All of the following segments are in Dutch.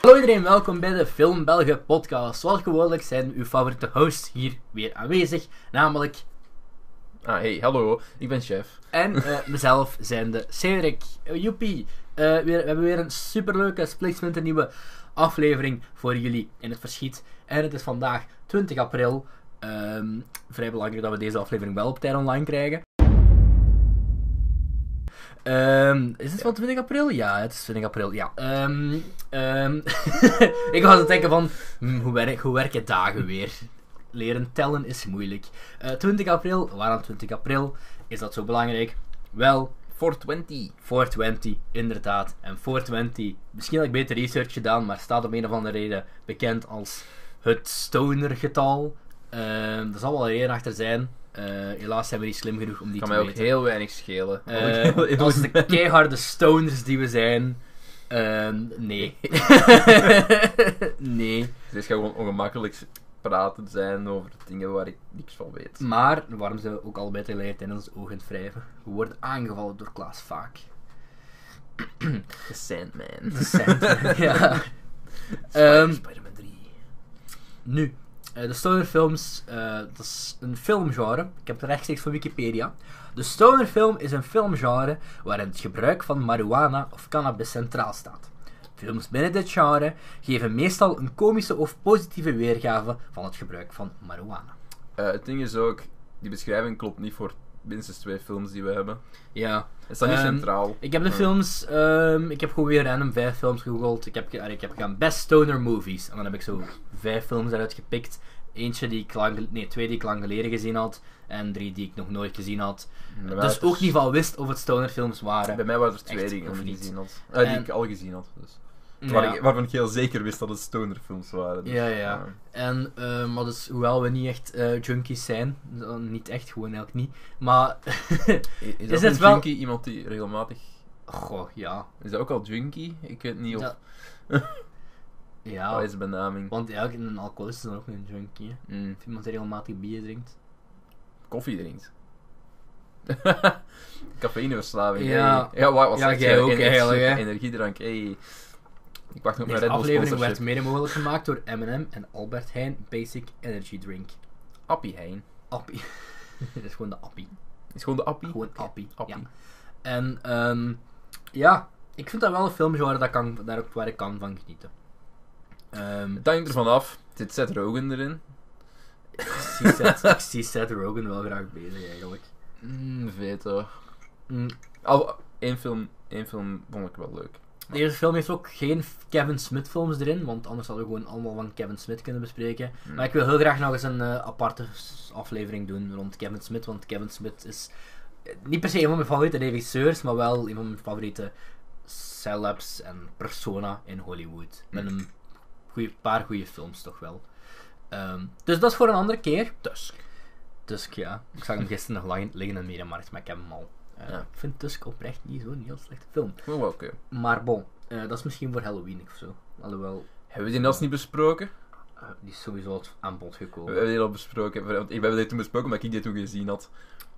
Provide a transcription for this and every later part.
Hallo iedereen, welkom bij de Film Belgen podcast. Zoals gewoonlijk zijn uw favoriete hosts hier weer aanwezig, namelijk Ah, hey, hallo, ik ben chef. en eh, mezelf zijnde Cedric. Eh, joepie, Eh, weer, we hebben weer een superleuke Splitsminter nieuwe aflevering voor jullie in het verschiet. En het is vandaag 20 april. Ehm, vrij belangrijk dat we deze aflevering wel op tijd online krijgen. Ehm, is het van 20 april? Ja, het is 20 april. Ja. Ehm, ehm, ik was aan het denken van, hmm, hoe, werk, hoe werken dagen weer? Leren tellen is moeilijk. Eh, 20 april, waarom 20 april? Is dat zo belangrijk? Wel, 420. 420, inderdaad. En 420, misschien had ik beter research gedaan, maar staat om een of andere reden bekend als het stoner-getal. Ehm er zal wel een reden achter zijn. Eh, helaas zijn we niet slim genoeg om die Kan te mij ook weten. heel weinig schelen. Eh, als de keiharde stoners die we zijn. ehm, nee. nee. Het is Dus gewoon ongemakkelijk praten zijn over dingen waar ik niks van weet. Maar, waarom zijn we ook allebei tegelijkertijd in ons ogen wrijven? We worden aangevallen door Klaas vaak. The Sandman. De Sandman, ja. Spider- Ehm, Spider-Man 3. Nu, eh, de stonerfilms, eh dat is een filmgenre. Ik heb het rechtstreeks van Wikipedia. De stonerfilm is een filmgenre waarin het gebruik van marijuana of cannabis centraal staat. Films binnen dit genre geven meestal een komische of positieve weergave van het gebruik van marijuana. Eh, het ding is ook, die beschrijving klopt niet voor minstens twee films die we hebben. Ja, Het staat niet Ehm, centraal. ik heb de Eh, films, ehm, ik heb gewoon weer random vijf films gegoogeld. Ik heb, ge- ik heb gaan best stoner movies. En dan heb ik zo vijf films eruit gepikt. Eentje die ik lang, nee, twee die ik lang geleden gezien had. En drie die ik nog nooit gezien had. bij mij dus was er- ook niet van wist of het stonerfilms waren. Bij mij waren er twee Echt, dingen of die ik niet. gezien had. Eh, die En- ik al gezien had. Dus. Ja. Waar ik, waarvan ik heel zeker wist dat het stonerfilms waren. dus, Ja, ja. eh. En, ehm, maar dus, hoewel we niet echt eh, junkies zijn, dan niet echt, gewoon eigenlijk niet. Maar, I- Is, het dat een wel- junkie? Iemand die regelmatig... goh, ja. Is dat ook al junkie? Ik weet niet of... Ja. ja. Wat is de benaming? Want eigenlijk, een alcoholist is dan ook een junkie. hè. Mm, Of iemand die regelmatig bier drinkt. koffie drinkt. Cafeïneverslaving. Ja. hey. ja wa- wat Ja, zeg jij ook Energie- eigenlijk, hè. Energiedrank, hey. Ik wacht nog op mijn Deze Red Bull aflevering werd sponsorship. mede mogelijk gemaakt door M&M en Albert Heijn Basic Energy Drink. Appie Hein. Appie. Dit is gewoon de appie. Is gewoon de appie? Gewoon appie. Appie. Ja. En ehm, ja, ik vind dat wel een filmgenre dat kan, daar ook waar ik kan van genieten. Ehm, Het hangt ervan af. Zit Seth Rogen erin? ik, zie Seth, ik zie Seth Rogen wel graag bezig eigenlijk. Hmm, Mm, veto. Mm, Al, één, film, één film vond ik wel leuk. Deze film heeft ook geen Kevin Smith films erin, want anders hadden we gewoon allemaal van Kevin Smith kunnen bespreken. Mm. Hmm. Maar ik wil heel graag nog eens een eh, aparte s- aflevering doen rond Kevin Smith, want Kevin Smith is eh, niet per se een van mijn favoriete regisseurs, maar wel een van mijn favoriete celebs en persona in Hollywood. Met een goeie, paar goede films toch wel. Ehm, dus dat is voor een andere keer. Tusk. Tusk, ja. Dus Ik zag hem gisteren nog lang- liggen in de Mediamarkt, maar ik heb hem al. Eh, Ja. Ik vind Tusk oprecht niet zo'n heel slechte film. Maar Oh, wel oké. Maar bon, eh, dat is misschien voor Halloween of zo. Alhoewel, Hebben we die als niet besproken? eh, die is sowieso al aan bod We gekomen. hebben die al besproken. Want ik- We hebben dit toen besproken omdat ik dit toen gezien had.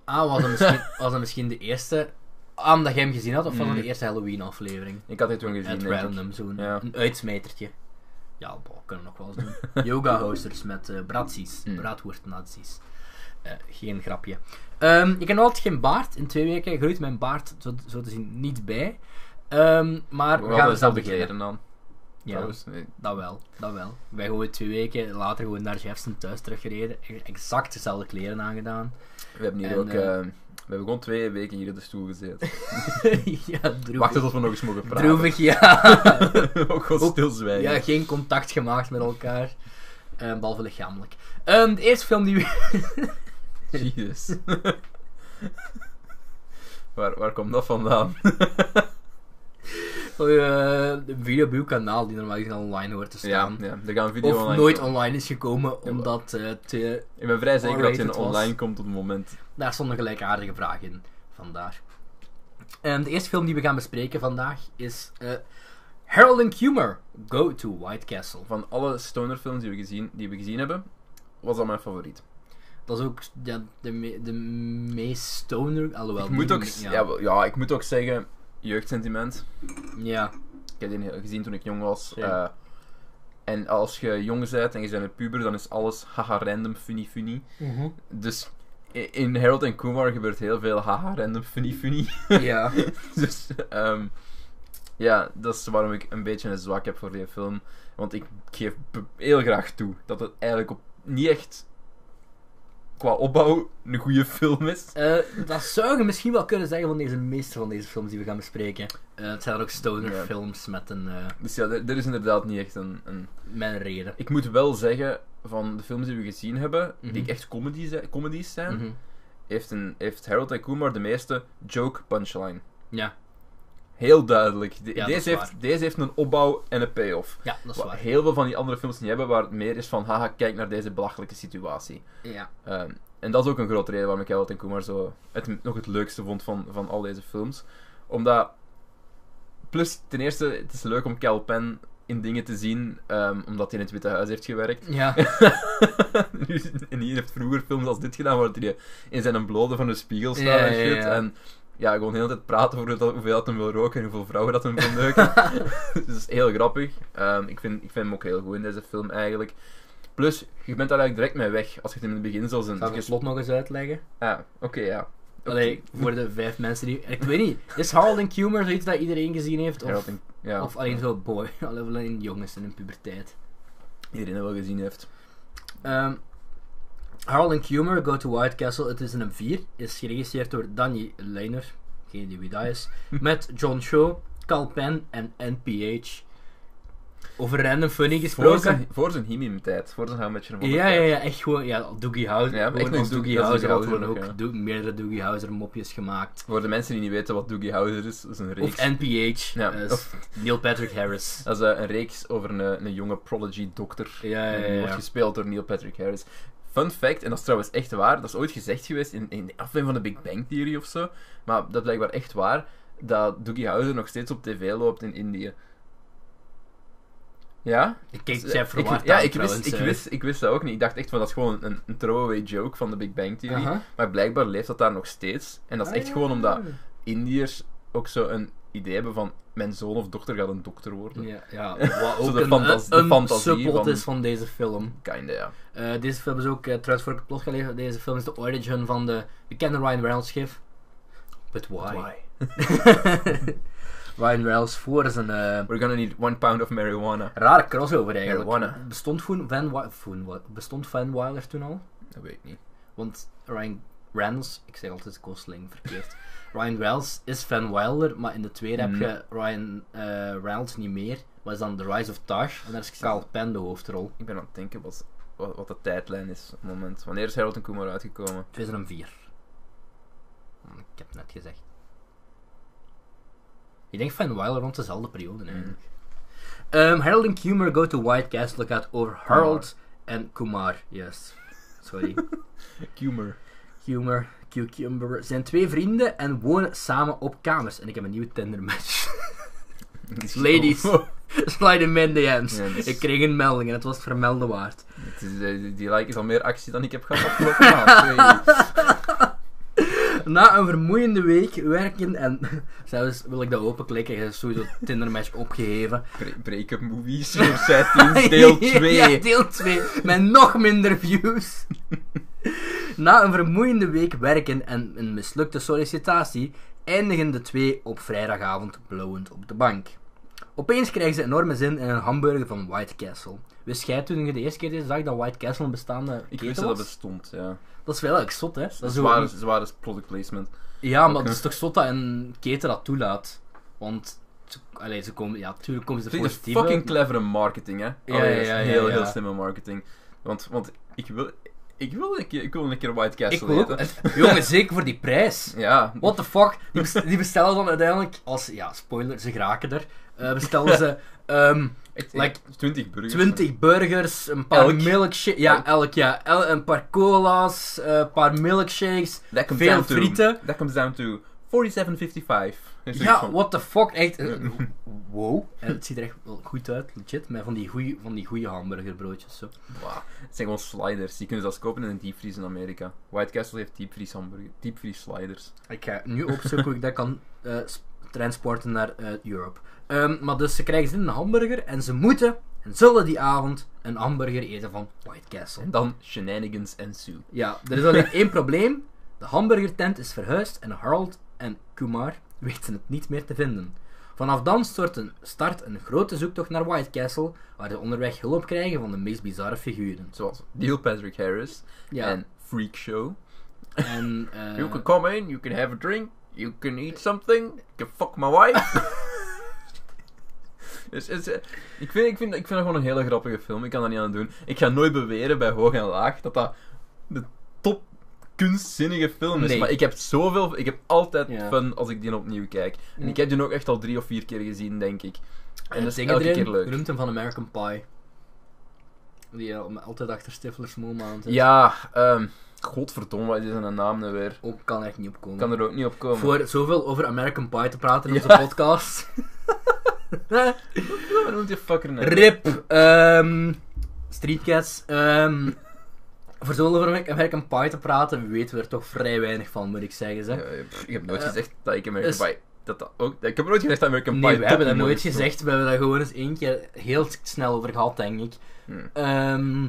Ah, was dat misschien, was dat misschien de eerste aan dat jij hem gezien had? Of was dat Mm. de eerste Halloween-aflevering? Ik had dit toen gezien. Het denk ik. random, zo'n Ja. een uitsmijtertje. Ja, bo, kunnen we nog wel eens doen. Yoga-hosters met eh bratsies, Mm. braadwoordnazies. Eh, geen grapje. Ehm, ik heb nog altijd geen baard. In twee weken groeit mijn baard, zo, zo te zien, niet bij. Ehm, maar we, gaan We hadden dus dat dezelfde beginnen. kleren aan. Ja. Trouwens, nee. Dat wel, dat wel. Wij gewoon twee weken later gewoon naar Jefferson thuis teruggereden. e- Exact dezelfde kleren aangedaan. We hebben hier En, ook. eh, eh, we hebben gewoon twee weken hier op de stoel gezeten. ja, droevig. Wachten tot we nog eens mogen praten. droevig, ja. ook gewoon Ook- stilzwijgen. ja, geen contact gemaakt met elkaar. Eh, behalve lichamelijk. Ehm, de eerste film die we... Jezus. waar, waar komt dat vandaan? eh een video op uw kanaal die normaal gezien online hoort te Ja, staan. ja, er gaan een video Of online. nooit komen. online is gekomen, omdat eh, het, eh, Ik ben vrij zeker dat R-rated was. je online komt op het moment. daar stonden gelijkaardige vragen in. Vandaar. En de eerste film die we gaan bespreken vandaag is eh, Harold and Kumar Go to White Castle. Van alle stonerfilms die we gezien, die we gezien hebben, was dat mijn favoriet. Dat is ook ja, de, me- de meest stoner. Alhoewel, ik, moet die- ook, s- Ja, ja. wel- ja, ik moet ook zeggen, jeugdsentiment. ja. Ik heb die heel- gezien toen ik jong was. Zeker. eh, En als je jong bent en je bent een puber, dan is alles haha random funny funny. Mhm. Dus i- in Harold en Kumar gebeurt heel veel haha random funny funny. Ja. dus ehm, ja, dat is waarom ik een beetje een zwak heb voor die film. Want ik geef b- heel graag toe dat het eigenlijk op, niet echt qua opbouw een goede film is. Eh, dat zou je misschien wel kunnen zeggen van deze meeste van deze films die we gaan bespreken. Eh, het zijn dan ook stoner Ja. films met een, eh, Dus ja, er er is inderdaad niet echt een, een... met een reden. Ik moet wel zeggen, van de films die we gezien hebben, Mhm. die echt comedies, comedies zijn, Mhm. heeft, een, heeft Harold en Kumar de meeste joke punchline. Ja. Heel duidelijk. De- Ja, dat is deze, heeft, waar. deze heeft een opbouw en een payoff. ja, dat is Wat waar. heel veel van die andere films niet hebben, waar het meer is van, haha, kijk naar deze belachelijke situatie. Ja. Ehm, en dat is ook een grote reden waarom ik Harold en Kumar zo het, nog het leukste vond van, van al deze films. Omdat, plus ten eerste, het is leuk om Cal Penn in dingen te zien, ehm, omdat hij in het Witte Huis heeft gewerkt. Ja. Nu- en die heeft vroeger films als dit gedaan, waar hij in zijn blote van de spiegel staat Ja, en ja, shit. ja. En ja, gewoon de hele tijd praten over dat- hoeveel dat hem wil roken en hoeveel vrouwen dat hem wil neuken. dus dat is heel grappig. Ehm, ik, vind, ik vind hem ook heel goed in deze film eigenlijk. Plus, je bent daar eigenlijk direct mee weg als je het in het begin zou zijn. Zal ik het slot nog eens uitleggen? Ah, oké, ja. Oké. Allee, voor de vijf mensen die... Ik weet niet, is Harold en Kumar zoiets dat iedereen gezien heeft? Harold Of, en- ja. of alleen zo boy? Alleen jongens in hun puberteit. Iedereen dat wel gezien heeft. Ehm, Harold en Kumar Go to White Castle, het is een M4, is geregisseerd door Danny Leiner, geen idee wie dat is, Hm. met John Cho, Cal Penn en NPH. Over random funny Voor gesproken. zijn, voor zijn himim-tijd. Voor zijn hamertje van de Ja, ja, tijd. ja, echt gewoon, ja, Doogie Howser. Ja, Ja, maar echt echt nog als Doogie Doogie- dat is Howser had Doogie gewoon Howser ook ook, do- meerdere Doogie Howser mopjes gemaakt. Voor de mensen die niet weten wat Doogie Howser is, dat is een reeks. Of NPH, Ja, eh, of- Neil Patrick Harris. Dat is eh, een reeks over een, eh, een jonge prodigy-dokter. Ja, ja, En ja, die wordt ja. gespeeld door Neil Patrick Harris. Fun fact, en dat is trouwens echt waar, dat is ooit gezegd geweest in, in de aflevering van de Big Bang Theory of zo, maar dat is blijkbaar echt waar, dat Doogie Howser nog steeds op tv loopt in Indië. Ja? Ik kijk Jeff verwaard ja, aan ik wist, trouwens, ik, eh. wist, ik wist dat ook niet. Ik dacht echt van, dat is gewoon een, een throwaway joke van de Big Bang Theory. Aha. Maar blijkbaar leeft dat daar nog steeds. En dat is Ah, echt ja. gewoon omdat Indiërs ook zo een idee hebben van, mijn zoon of dochter gaat een dokter worden. Ja, ja wat Zo ook de een, fantas- de een fantasie subplot van- is van deze film. Kinda, ja. Eh, deze film is ook, eh, trouwens voor ik het plot ga lezen, deze film is de origin van de bekende Ryan Reynolds gif. But why? Ryan Reynolds voor zijn eh We're gonna need one pound of marijuana. rare crossover eigenlijk. Marijuana. Bestond, Van Van Wi- Van Wi- bestond Van Wilder toen al? Dat weet ik niet. Want Ryan Reynolds, ik zeg altijd Gosling verkeerd. Ryan Reynolds is Van Wilder, maar in de tweede Mm. heb je Ryan eh, Reynolds niet meer. Maar is dan The Rise of Taj en daar is Carl Penn de hoofdrol. Ik ben aan het denken wat, wat, wat de tijdlijn is op het moment. Wanneer is Harold en Kumar uitgekomen? 2004. Hm, Ik heb net gezegd. Ik denk Van Wilder rond dezelfde periode eigenlijk. Ehm, Harold en Kumar go to White Castle gaat over Harold en Kumar. Yes. Sorry. Kumar. Kumar, Cucumber zijn twee vrienden en wonen samen op kamers. En ik heb een nieuwe Tinder match. Ladies. dus- Slide in mijn DM's. Ja, dat is- Ik kreeg een melding en het was het vermelden waard. dus Het is, eh, die, die like is al meer actie dan ik heb gehad afgelopen maand. Twee. Na een vermoeiende week werken en zelfs wil ik dat openklikken, je hebt sowieso Tinder match opgeheven. Bre- Break-up movies voor 13, deel 2. Ja, deel 2. Met nog minder views. Na een vermoeiende week werken en een mislukte sollicitatie, eindigen de twee op vrijdagavond blauwend op de bank. Opeens krijgen ze enorme zin in een hamburger van White Castle. Wist jij toen je de eerste keer deze zag dat White Castle een bestaande Ik keten wist dat dat was? bestond, ja. Dat is wel erg zot, hè? Dat is zo- Zware, zware product placement. Ja, maar Oké. het is toch zot dat een keten dat toelaat. Want, ze- allee, ze komen... Ja, tuurlijk komen ze Het is positieve... fucking clevere marketing, hè? Allee, dat is ja, ja, heel, ja. heel slimme marketing. Want, want ik wil... Ik wil, een keer, ik wil een keer White Ik Castle wil ook... eten. Jongen, zeker voor die prijs. Ja, What the fuck? Die, bes- die bestellen dan uiteindelijk, als, ja, spoiler, ze geraken er. Eh, bestellen ze ehm Echt, Like, 20 burgers. 20 burgers, een paar Elk? milkshakes. Ja, Elk? elk, ja. El- een paar cola's, eh, een paar milkshakes. That comes veel down to, frieten. That comes down to 47,55. Dus ik Ja, van- what the fuck? Echt, eh, wow. En het ziet er echt wel goed uit, legit. Met van die goeie, van die goeie hamburgerbroodjes. Zo. Wauw. Het zijn gewoon sliders. Die kunnen ze zelfs kopen in een diepvries in Amerika. White Castle heeft diepvries hamburger, diepvries sliders. Ik ga nu opzoeken hoe ik dat kan eh, s- transporten naar eh, Europe. Ehm, maar dus ze krijgen zin in een hamburger en ze moeten, en en zullen die avond een hamburger eten van White Castle. En dan shenanigans ensue. Ja, er is alleen één probleem. De hamburgertent is verhuisd en Harold en Kumar weten het niet meer te vinden. Vanaf dan stort een, start een grote zoektocht naar White Castle, waar ze onderweg hulp krijgen van de meest bizarre figuren. Zoals Neil Patrick Harris Ja, en Freak Show. en... eh, You can come in, you can have a drink, you can eat something, you can fuck my wife. Dus, het is, eh, ik, vind, ik, vind, ik vind dat gewoon een hele grappige film, ik kan daar niet aan doen. Ik ga nooit beweren bij Hoog en Laag dat dat de top kunstzinnige film is. Nee. Maar ik heb zoveel, ik heb altijd Ja. fun als ik die opnieuw kijk. En ik heb die ook echt al drie of vier keer gezien, denk ik. En het dat is ding elke erin, keer je leuk. noemt hem van American Pie. Die al- altijd achter Stifler's Moorman zit. Ja, ehm godverdomme, wat is een naam nou weer? Ook kan echt niet opkomen. Ik kan er ook niet op komen. Voor zoveel over American Pie te praten in Ja. onze podcast. Hoe noemt die fucker nou? Rip, ehm Streetcats. ehm voor zoveel over American Pie te praten, weten we er toch vrij weinig van, moet ik zeggen. Zeg. Ja, pff, ik heb nooit Eh, gezegd dat ik American is- Pie. Dat dat ook, ik heb nooit gezegd dat American Pie. Nee, we hebben dat topmooi nooit is. gezegd. We hebben daar gewoon eens één keer heel snel over gehad, denk ik. Hmm. Ehm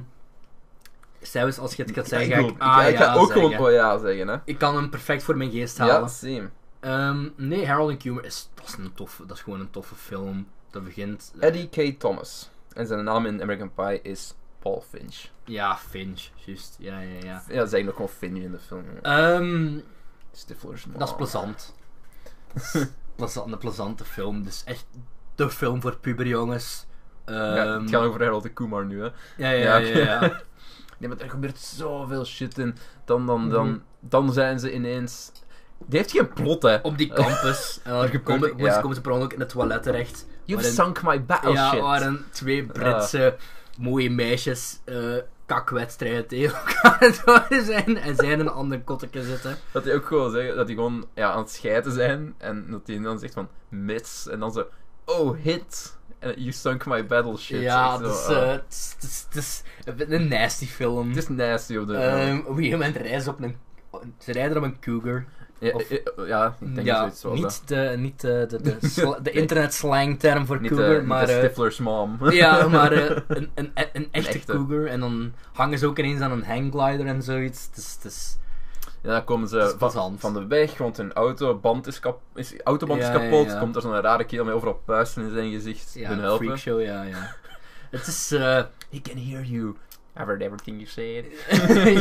zelfs als je het gaat zeggen, ik, ga wil- ik, ik- ah, ik ga ja ook zeggen. gewoon oh ja zeggen, hè? Ik kan hem perfect voor mijn geest halen. Ja, same. Ehm, nee, Harold en Kumar is, dat is, een toffe, dat is gewoon een toffe film. Dat begint... eh, Eddie K. Thomas. En zijn naam in American Pie is Paul Finch. Ja, Finch, juist. Ja, ja, ja. Ja, dat is eigenlijk ook gewoon Finch in de film. jongen. Ehm, Stifler's Dat is mom. plezant. Dat is plezant- een plezante film. Dus echt de film voor puberjongens. Ja, Ehm, het gaat over Harold de Kumar nu, hè? ja, ja, ja, ja, ja, oké. ja. Nee, maar er gebeurt zoveel shit in. Dan, dan, dan, Mhm. dan zijn ze ineens. Die heeft geen plot, hè? Op die campus. En Er dan gebeurt- komen ja. ze komen ze per ongeluk in het toilet terecht. You've waarin- sunk my battle ja, shit. Ah. waar een twee Britse mooie meisjes eh kakwedstrijden tegen elkaar aan het houden zijn. En zij in een ander kotteke zitten. Dat hij ook gewoon zeggen dat die gewoon ja, aan het schijten zijn. En dat hij dan zegt van mits. En dan zo, oh hit. En you sunk my battleship. ja, Echt zo, dus ah. eh, het is- het is- het is een nasty film. Het is nasty op de. Ehm, op een gegeven moment rijden ze op een... Ze rijden op een cougar. ja, of- eh, ja, ik denk ja, dat zoiets was. hè. niet, de, niet de, de, de, sla- de internetslang-term voor Niet, eh, cougar, niet maar... de eh, Stifler's mom. ja, maar eh, een, een, een, een echte, echte. cougar. En dan hangen ze ook ineens aan een hangglider en zoiets. Het is, het is- Ja, dan komen het ze is Eh, van, plezant. van de weg, want hun auto, band is kap, is, autoband Ja, is kapot. ja, ja. Komt er zo'n rare kerel met overal puisten in zijn gezicht. ja, hun een helpen. freakshow, ja, ja. Het is... eh, He can hear you. I've heard everything you said.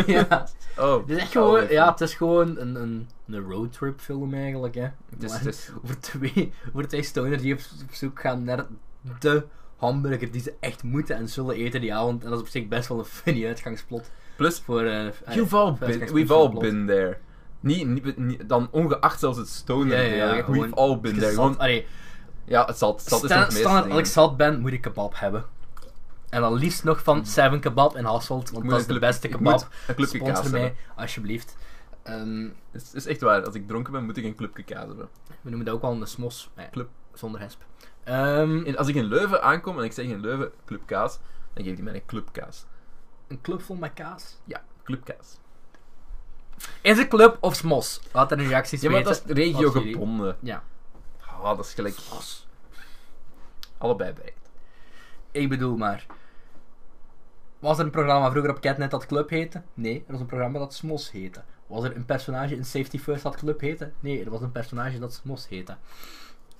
ja. Oh, Het is echt oh, gewoon... even. Ja, het is gewoon een, een, een roadtrip film eigenlijk, hè. Het is- Maar het is- Over twee, over twee stoners die op, op zoek gaan naar de hamburger die ze echt moeten en zullen eten die avond. En dat is op zich best wel een funny uitgangsplot. Plus, voor... eh, eh, You've all Vijf been, keer we've all Spongebob. been there. Niet, niet, niet- dan ongeacht zelfs het stoner. Ja, ja, deel, ja, like, gewoon we've all been there. gezond- Gewoon, Allee, ja, het zat. Het zat is nog sta- het meeste standaard ding. als ik zat ben, moet ik kebab hebben. En dan liefst nog van Seven Kebab in Hasselt, want Hmm. moet dat een is de club- beste ik kebab. moet Een clubje kaas Sponsor hebben. mij, alsjeblieft. Ehm, Het is, het is echt waar. Als ik dronken ben, moet ik een clubje kaas hebben. we noemen dat ook wel een smos. Nee, Club. Zonder hesp. Ehm, En als ik in Leuven aankom en ik zeg in Leuven club kaas, dan geef die mij een club kaas. een club vol met kaas. Ja, club kaas. Is het club of smos? Laat er een reacties Ja, maar dat is regio als jullie- gebonden. Ja. Ah, dat is gelijk allebei bij. Ik bedoel maar. Was er een programma vroeger op Catnet dat Club heette? Nee, er was een programma dat Smos heette. Was er een personage in Safety First dat Club heette? Nee, er was een personage dat Smos heette.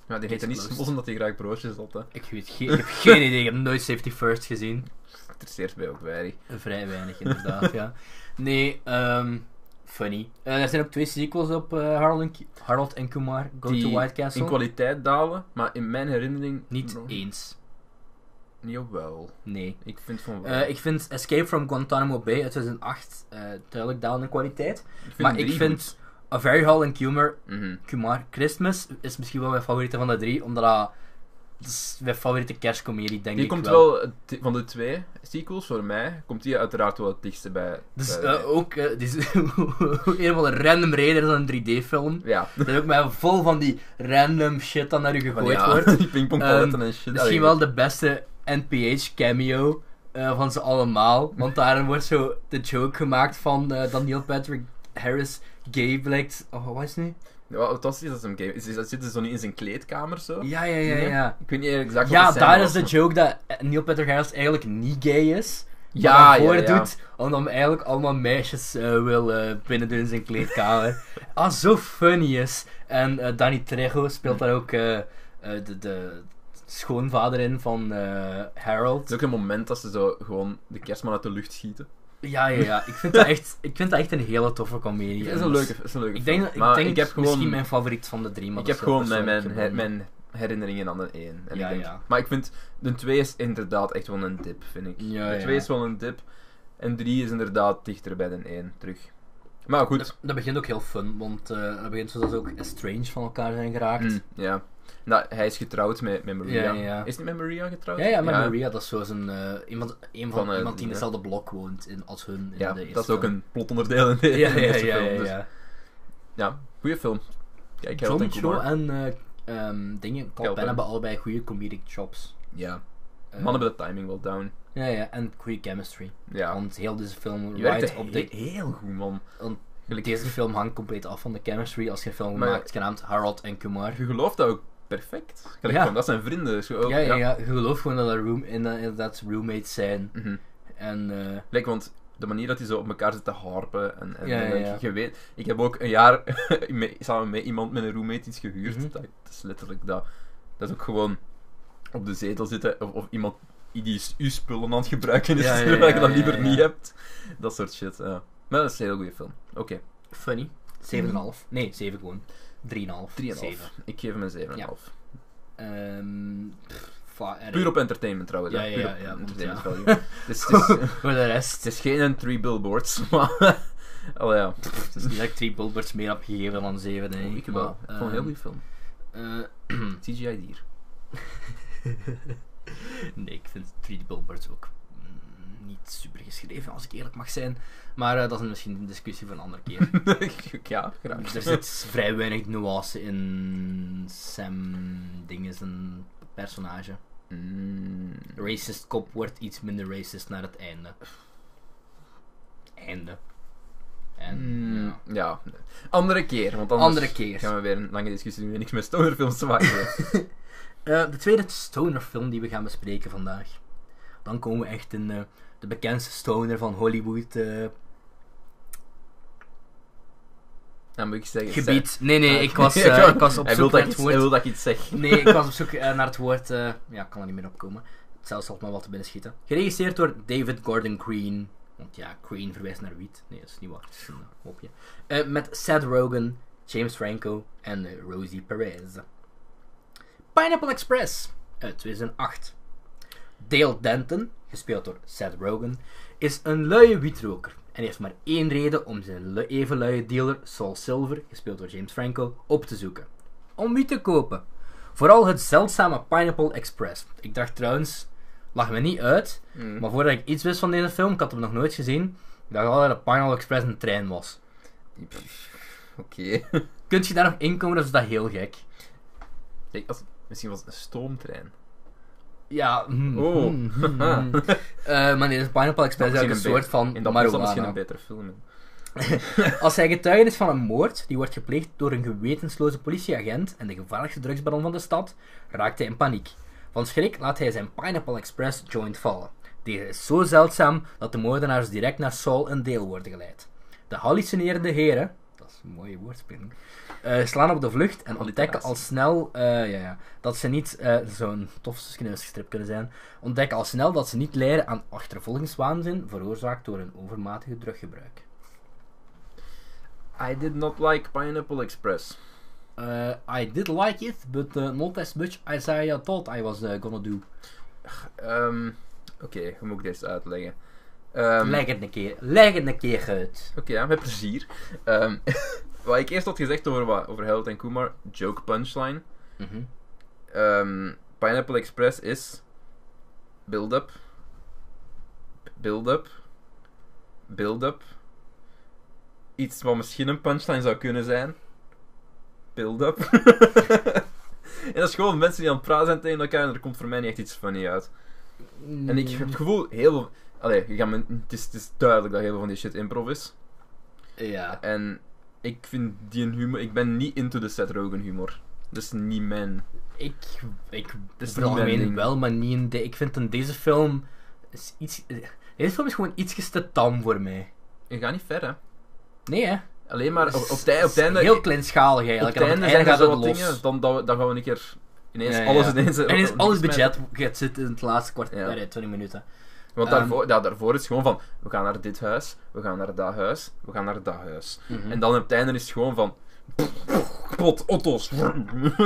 Ja, die heet Case niet closed. Smos omdat hij graag broodjes had. Hè. Ik, weet geen- ik heb geen idee, ik heb nooit Safety First gezien. Interesseert mij ook weinig. Vrij weinig inderdaad, ja. Nee, ehm, funny. Eh, er zijn ook twee sequels op eh, Harold, en, Ki- Harold en Kumar, Go Die to White Castle. In kwaliteit dalen, maar in mijn herinnering... Niet nog- eens, Jawel. nee. Ik vind van wel. Eh, ik vind Escape from Guantanamo Bay uit 2008 eh, duidelijk dalende kwaliteit. vind maar drie ik vind goed. A Very Hall and Humor Mhm. Kumar Christmas is misschien wel mijn favoriete van de drie, omdat dat, dat is mijn favoriete kerstcomedie, denk Die ik komt wel. wel, eh, t- van de twee sequels, voor mij, komt die uiteraard wel het dichtste bij. Dus bij- eh, ook, eh, die is een van de random reden dat het een 3D-film. ja, Dat is ook maar vol van die random shit dat naar u van gegooid die- ja, wordt. die pingpongpaletten Ehm, en shit. Misschien wel de beste NPH-cameo van ze allemaal. Want daarin wordt zo de joke gemaakt van eh, dat Neil eh, Patrick Harris gay blijkt. Oh, wat is het nu? Ja, Wat wat was het dat ze hem game? Is, is, dat- zitten ze zo niet in zijn kleedkamer zo? Ja, ja, ja, Nee? ja. Ik weet niet exact wat Ja, de scène daar was, is de maar- joke dat Neil Patrick Harris eigenlijk niet gay is. maar Ja, naar ja, voren ja. doet, omdat hij eigenlijk allemaal meisjes eh, wil eh binnendoen in zijn kleedkamer. ah, zo funny is. En eh, Danny Trejo speelt daar ook eh, eh, de, de schoonvader in van eh, Het Harold. is ook een moment dat ze zo gewoon de kerstman uit de lucht schieten. Ja, ja, ja. Ik vind dat echt, ik vind dat echt een hele toffe comedie. Het is een leuke, het is een leuke Ik film. denk, dat- ik maar denk ik heb misschien gewoon, mijn favoriet van de drie. Maar ik dat heb is wel gewoon mijn, mijn, persoonlijk, her- mijn herinneringen aan de één. En Ja, ik denk, ja. Maar ik vind, de 2 is inderdaad echt wel een dip, vind ik. Ja, de ja. 2 is wel een dip. En 3 is inderdaad dichter bij de 1 terug. Maar goed. Dat, dat begint ook heel fun, want eh dat begint zodat ze ook estranged van elkaar zijn geraakt. Mm, ja. Nou, hij is getrouwd met, met Maria. Ja, ja. Is het met Maria getrouwd? Ja, ja, maar Maria, dat is zo zijn, eh, iemand, een van, Van, eh, iemand die in ja. dezelfde blok woont in, als hun. In Ja, de eerste dat is ook film. een plotonderdeel in de, Ja, in de ja, eerste ja, film. ja, Dus, ja. ja, goede film. Kijk, Harold John en Cho Kumar. en eh, ehm, dingen, Cal Cal Penn Penn. hebben allebei goede comedic chops. Ja, Eh, mannen hebben de timing wel down. Ja, ja, en goede chemistry. Ja, Want heel deze film die rijdt werkte op he- de... heel goed, man. Want Gelijk- Deze film hangt compleet af van de chemistry als je een film Maar- maakt genaamd Harold en Kumar. Je gelooft dat ook perfect. Gelijk Ja. van, dat zijn vrienden. Dus je ook- ja, ja, ja, je gelooft gewoon dat dat room, in, eh, inderdaad roommates zijn. Mhm. En eh, Like, want de manier dat die zo op elkaar zitten harpen en, en, Ja, ja, en ja. Je, weet... Ik heb ook een jaar met- samen met iemand, met een roommate, iets gehuurd. Mhm. dat, dat is letterlijk dat. Dat is ook gewoon op de zetel zitten of, of iemand die is uw spullen aan het gebruiken is, Ja, ja, terwijl je ja, dat ja, liever ja. niet hebt. Dat soort shit, ja. Maar dat is een heel goede film. Oké, funny. 7,5. Nee, 7 gewoon. 3,5. 3,5. 7. Ik geef hem een 7,5. Ehm, pff, eh, va- er- Puur op entertainment trouwens. Ja, hè. ja, Puur ja, op ja, want entertainment ja. value. Dus het is, Voor de rest. Het is geen Three Billboards, maar... Allee, ja. Het is niet dat ik drie Bulberts meer heb gegeven dan zeven. Nee. Oh, ik wel. maar, Ik vond het een heel goede film. ehm, CGI dier. eh, nee, ik vind drie Bulberts ook mm, niet super geschreven, als ik eerlijk mag zijn. Maar eh, dat is misschien een discussie voor een andere keer. ja, graag. Dus- er zit vrij weinig nuance in Sam Dinges een personage. Mm. Racist kop wordt iets minder racist naar het einde. Einde. En, Mm, ja. ja. Andere keer, want anders Andere keer. gaan we weer een lange discussie doen en niks met stonerfilms te maken hebben. Eh, de tweede stonerfilm die we gaan bespreken vandaag. Dan komen we echt in eh, de bekendste stoner van Hollywood. eh, Dan moet ik zeggen... gebied. Nee, nee, Ah, ik was, ik eh, wou- ik was op Hij zoek wil, naar het dat ik iets, hij wil woord. dat ik iets zeg. Nee, ik was op zoek eh, naar het woord. eh, ja, ik kan er niet meer op komen. Zelfs zal het me wat te binnen schieten. Geregisseerd door David Gordon Green. Want ja, Green verwijst naar wiet. Nee, dat is niet waar. Dat is een eh, mopje. Eh, met Seth Rogen, James Franco en eh, Rosie Perez. Pineapple Express uit 2008. Dale Denton, gespeeld door Seth Rogen, is een luie wietroker en heeft maar één reden om zijn lu- even luie dealer Saul Silver, gespeeld door James Franco, op te zoeken. Om wiet te kopen. Vooral het zeldzame Pineapple Express. Ik dacht trouwens, lag me niet uit, Mm. maar voordat ik iets wist van deze film, ik had hem nog nooit gezien, ik dacht al dat de Pineapple Express een trein was. Pff, Oké. Kunt je daar nog inkomen of is dat heel gek? Kijk, als- Misschien was het een stoomtrein. Ja, hmm, Oh. hmm, hmm. Eh, maar nee, de Pineapple Express is Misschien eigenlijk een soort beter- van En dat was dan misschien marijuana. een betere film. hè. Als hij getuige is van een moord die wordt gepleegd door een gewetensloze politieagent en de gevaarlijkste drugsbaron van de stad, raakt hij in paniek. Van schrik laat hij zijn Pineapple Express joint vallen. Deze is zo zeldzaam dat de moordenaars direct naar Saul en Dale worden geleid. De hallucinerende heren, dat is een mooie woordspeling, eh, slaan op de vlucht en ontdekken al snel eh, ja, ja, dat ze niet eh, zo'n tof strip kunnen zijn. Ontdekken al snel dat ze niet lijden aan achtervolgingswaanzin veroorzaakt door een overmatige druggebruik. I did not like Pineapple Express. Uh, I did like it, but uh, not as much as I uh, thought I was uh, gonna do. Ehm, Oké, hoe moet ik deze uitleggen? Ehm, leg het een keer, leg het een keer uit. Oké, ja, met plezier. Ehm, wat ik eerst had gezegd over, wat, over Harold en Kumar, joke punchline. Mhm. Ehm, Pineapple Express is build-up, build-up, build-up. Iets wat misschien een punchline zou kunnen zijn. Build-up. en dat is gewoon mensen die aan het praten zijn tegen elkaar en er komt voor mij niet echt iets funny uit. Mm. En ik heb het gevoel, heel veel... Allee, je gaat me- het, is, het is duidelijk dat heel veel van die shit improv is. Ja. En ik vind die een humor... Ik ben niet into de Seth Rogen humor. Dat is niet mijn... Ik, ik Het is over het niet mijn algemeen ding. wel, maar niet in de... Ik vind in deze film... Is iets, eh, deze film is gewoon iets te tam voor mij. Je gaat niet ver, hè. Nee, hè? Alleen maar op, Het op, is- het ei- op het het is einde... Heel kleinschalig op het eigenlijk. einde en op zijn er het zo einde wat gaat het los. dingen, dan, dan, dan gaan we een keer ineens Ja, ja, alles ja. ineens... En is alles niks meer. budget het zit in het laatste kwartier, Ja. nee, 20 minuten. Want Ehm. daarvoor, ja, daarvoor is het gewoon van, we gaan naar dit huis, we gaan naar dat huis, we gaan naar dat huis. Mhm. En dan op het einde is het gewoon van, pot, otto's.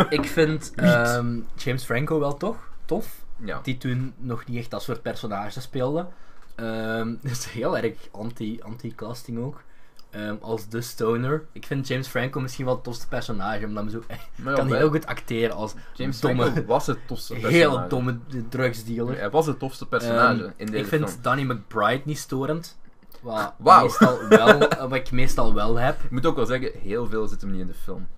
Ik vind ehm, James Franco wel toch tof. Ja, Die toen nog niet echt dat soort personages speelde. Ehm dat is heel erg anti- anti-casting ook. Ehm, als de stoner. Ik vind James Franco misschien wel het tofste personage. Omdat hij zo echt maar ja, kan bij heel goed acteren als James domme- Franco was het tofste personage. heel domme drugsdealer. Hij was het tofste personage Ehm, in deze ik vind film. Danny McBride niet storend. Wat, Wauw. meestal wel, wat ik meestal wel heb. Ik moet ook wel zeggen, heel veel zit hem niet in de film.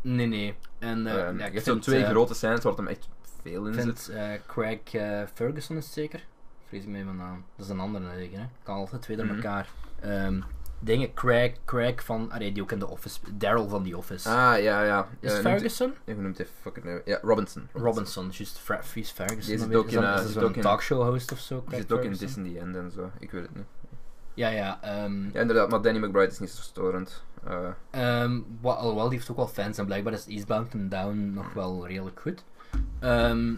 Nee, nee. En, eh, Ehm, ja, je ik hebt zo'n vind, twee eh, grote scènes waar hem echt veel in Ik zit. vind eh, Craig eh, Ferguson is het zeker. Vrees ik me even aan. Dat is een andere zeker, hè? Kan altijd twee door Mhm. elkaar. Ehm, dingen, Craig, Craig van... Allee, die ook in The Office... Daryl van The Office. Ah, ja, ja. is Eh, het noemt- Ferguson? Ja, hoe noemt hij fucking... eh, Ja, Robinson. Robinson, juist Fra- Fries Ferguson. Die zit dan weet ook ik. in, Is dat- eh, is zit dat ook een in- talkshow host of zo, Die Craig zit ook in Ferguson? Disney End en zo. Ik weet het niet. Ja, ja. ehm, Ja, inderdaad, maar Danny McBride is niet zo storend. Eh, Ehm, wa- alhoewel, die heeft ook wel fans en blijkbaar is Eastbound and Down nog wel redelijk goed. Ehm,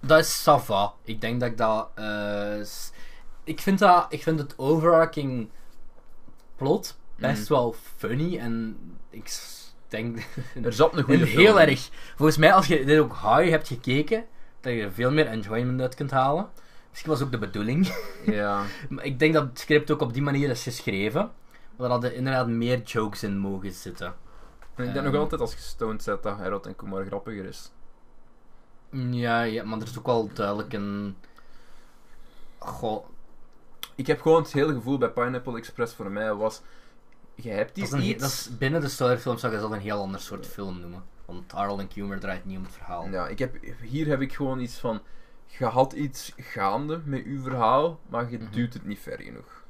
dat is Sava. Ik denk dat ik dat. eh, s- ik, vind dat ik vind het overarching plot best Mhm. wel funny en ik s- denk. er zat een en goede film heel in. erg. Volgens mij, als je dit ook high hebt gekeken, dat je er veel meer enjoyment uit kunt halen. Misschien was ook de bedoeling. Ja. Maar ik denk dat het script ook op die manier is geschreven. Maar dat er inderdaad meer jokes in mogen zitten. En ik Ehm. denk nog altijd als je stoned zet dat Harold en Kumar grappiger is. Ja, ja, maar er is ook wel duidelijk een. Goh, Ik heb gewoon het hele gevoel bij Pineapple Express voor mij was... Je dat hebt is, iets... een, he- dat is binnen de Stoller-film zou ik dat een heel ander soort film noemen. Want Harold en Kumar draait niet om het verhaal. Ja, ik heb, hier heb ik gewoon iets van... Je had iets gaande met uw verhaal, maar je Mhm. duwt het niet ver genoeg.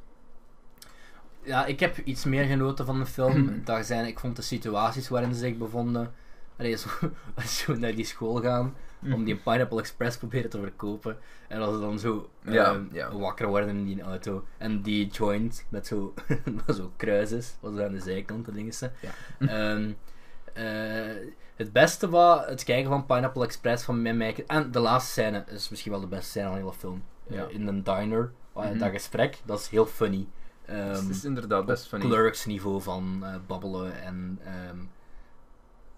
Ja, ik heb iets meer genoten van de Mhm. film. Daar zijn, ik vond de situaties waarin ze zich bevonden. Allee, zo, als ze naar die school gaan Mhm. om die Pineapple Express proberen te verkopen. En als ze dan zo eh, Ja, ja. wakker worden in die auto. En die joint met zo, met zo kruis is, wat zo aan de zijkant de dingen zijn. Ja. Ehm, eh, het beste was het kijken van Pineapple Express van mijn mij. En de laatste scène is misschien wel de beste scène van de hele film. Eh, Ja. in een diner, eh, Mhm. dat gesprek, dat is heel funny. Ehm, Dus het is inderdaad best funny. Clerks niveau van eh, babbelen en ehm,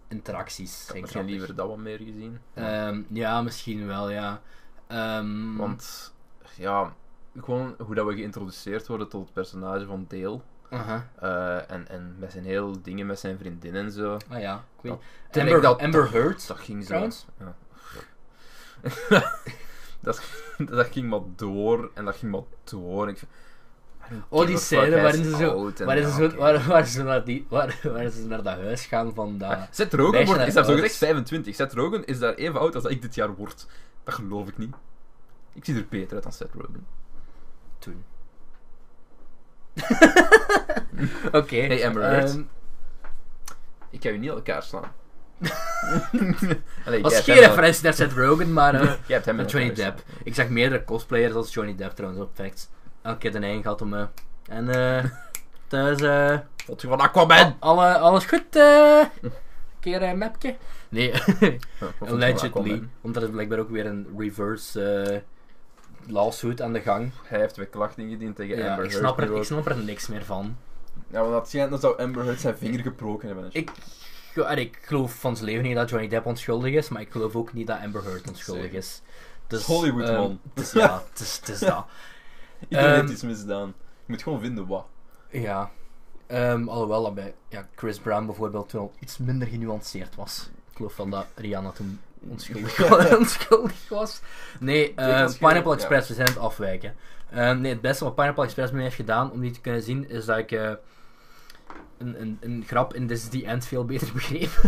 interacties. Ik had zijn misschien grappig. liever dat wat meer gezien. Ehm, ja, misschien wel, ja. Ehm, Want, ja... Gewoon hoe dat we geïntroduceerd worden tot het personage van Dale. aha. eh, en, en met zijn heel dingen met zijn vriendin en zo. Ah ja, ik weet Dat- niet. en ik Amber, dat- Amber Heard. Dat ging zo. Trouwens? Ja. dat, dat ging maar door en dat ging maar door. En ik, Oh, die scène waarin ze zo- Waar, is het ze zo- waar, waar, ze naar die, waar, waar ze naar dat huis gaan van dat... Seth Rogen meisje wordt, naar is daar zo oud gezegd is? 25. Seth Rogen is daar even oud als dat ik dit jaar word. Dat geloof ik niet. Ik zie er beter uit dan Seth Rogen. Toen. Oké. Hey, Amber Heard. ehm, Ik ga je niet aan elkaar slaan. Allee, was jij geen hebt hem wel- referentie naar Seth Rogen, maar... eh, Jij hebt hem Met wel Johnny thuis. Depp. Ik zag meerdere cosplayers als Johnny Depp trouwens op Facts. Elke keer de eigen gehad om. eh, en eh. thuis. eh, Vond je van Aquaman? alle, alles goed? eh een keer een mapje? Nee, Ja, wat vond je van allegedly. Aquaman? Omdat er blijkbaar ook weer een reverse eh, lawsuit aan de gang. Hij heeft weer klachten ingediend tegen Ja, Amber ik, Heard snap nu er, ook. ik snap er niks meer van. Ja, want dat schijnt dat zou Amber Heard zijn vinger gebroken hebben. en shit. Ik, ge- en ik geloof van zijn leven niet dat Johnny Depp onschuldig is, maar ik geloof ook niet dat Amber Heard onschuldig Zeker. is. Dus, Hollywood, ehm, man. het is- ja, het is, het is dat. Iedereen Ehm, heeft iets misdaan. Je moet gewoon vinden wat. Ja. Ehm, alhoewel dat bij ja, Chris Brown bijvoorbeeld toen al iets minder genuanceerd was. Ik geloof wel dat Rihanna toen onschuldig, was- onschuldig was. Nee, eh, onschuldig, Pineapple ja. Express, we zijn aan het afwijken. Ehm, nee, het beste wat Pineapple Express me heeft gedaan om die te kunnen zien, is dat ik eh, een, een, een grap in This is the End veel beter begreep.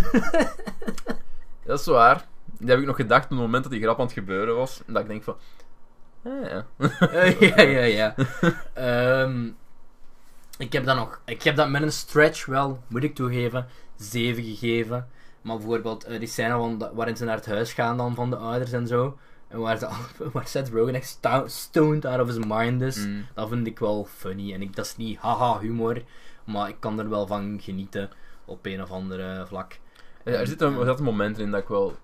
Dat is waar. Dat heb ik nog gedacht op het moment dat die grap aan het gebeuren was. Dat ik denk van... Ah, ja. Eh, ja, ja, ja. Ehm, Ik heb dat nog. Ik heb dat met een stretch wel, moet ik toegeven, 7 gegeven. Maar bijvoorbeeld eh, die scène van de- waarin ze naar het huis gaan dan van de ouders en zo. En waar, ze, al- waar Seth Rogen echt sta- stoned out of his mind is. Mm. Dat vind ik wel funny. En ik, dat is niet haha humor. Maar ik kan er wel van genieten op een of andere vlak. Ja, er zitten er zaten momenten in dat ik wel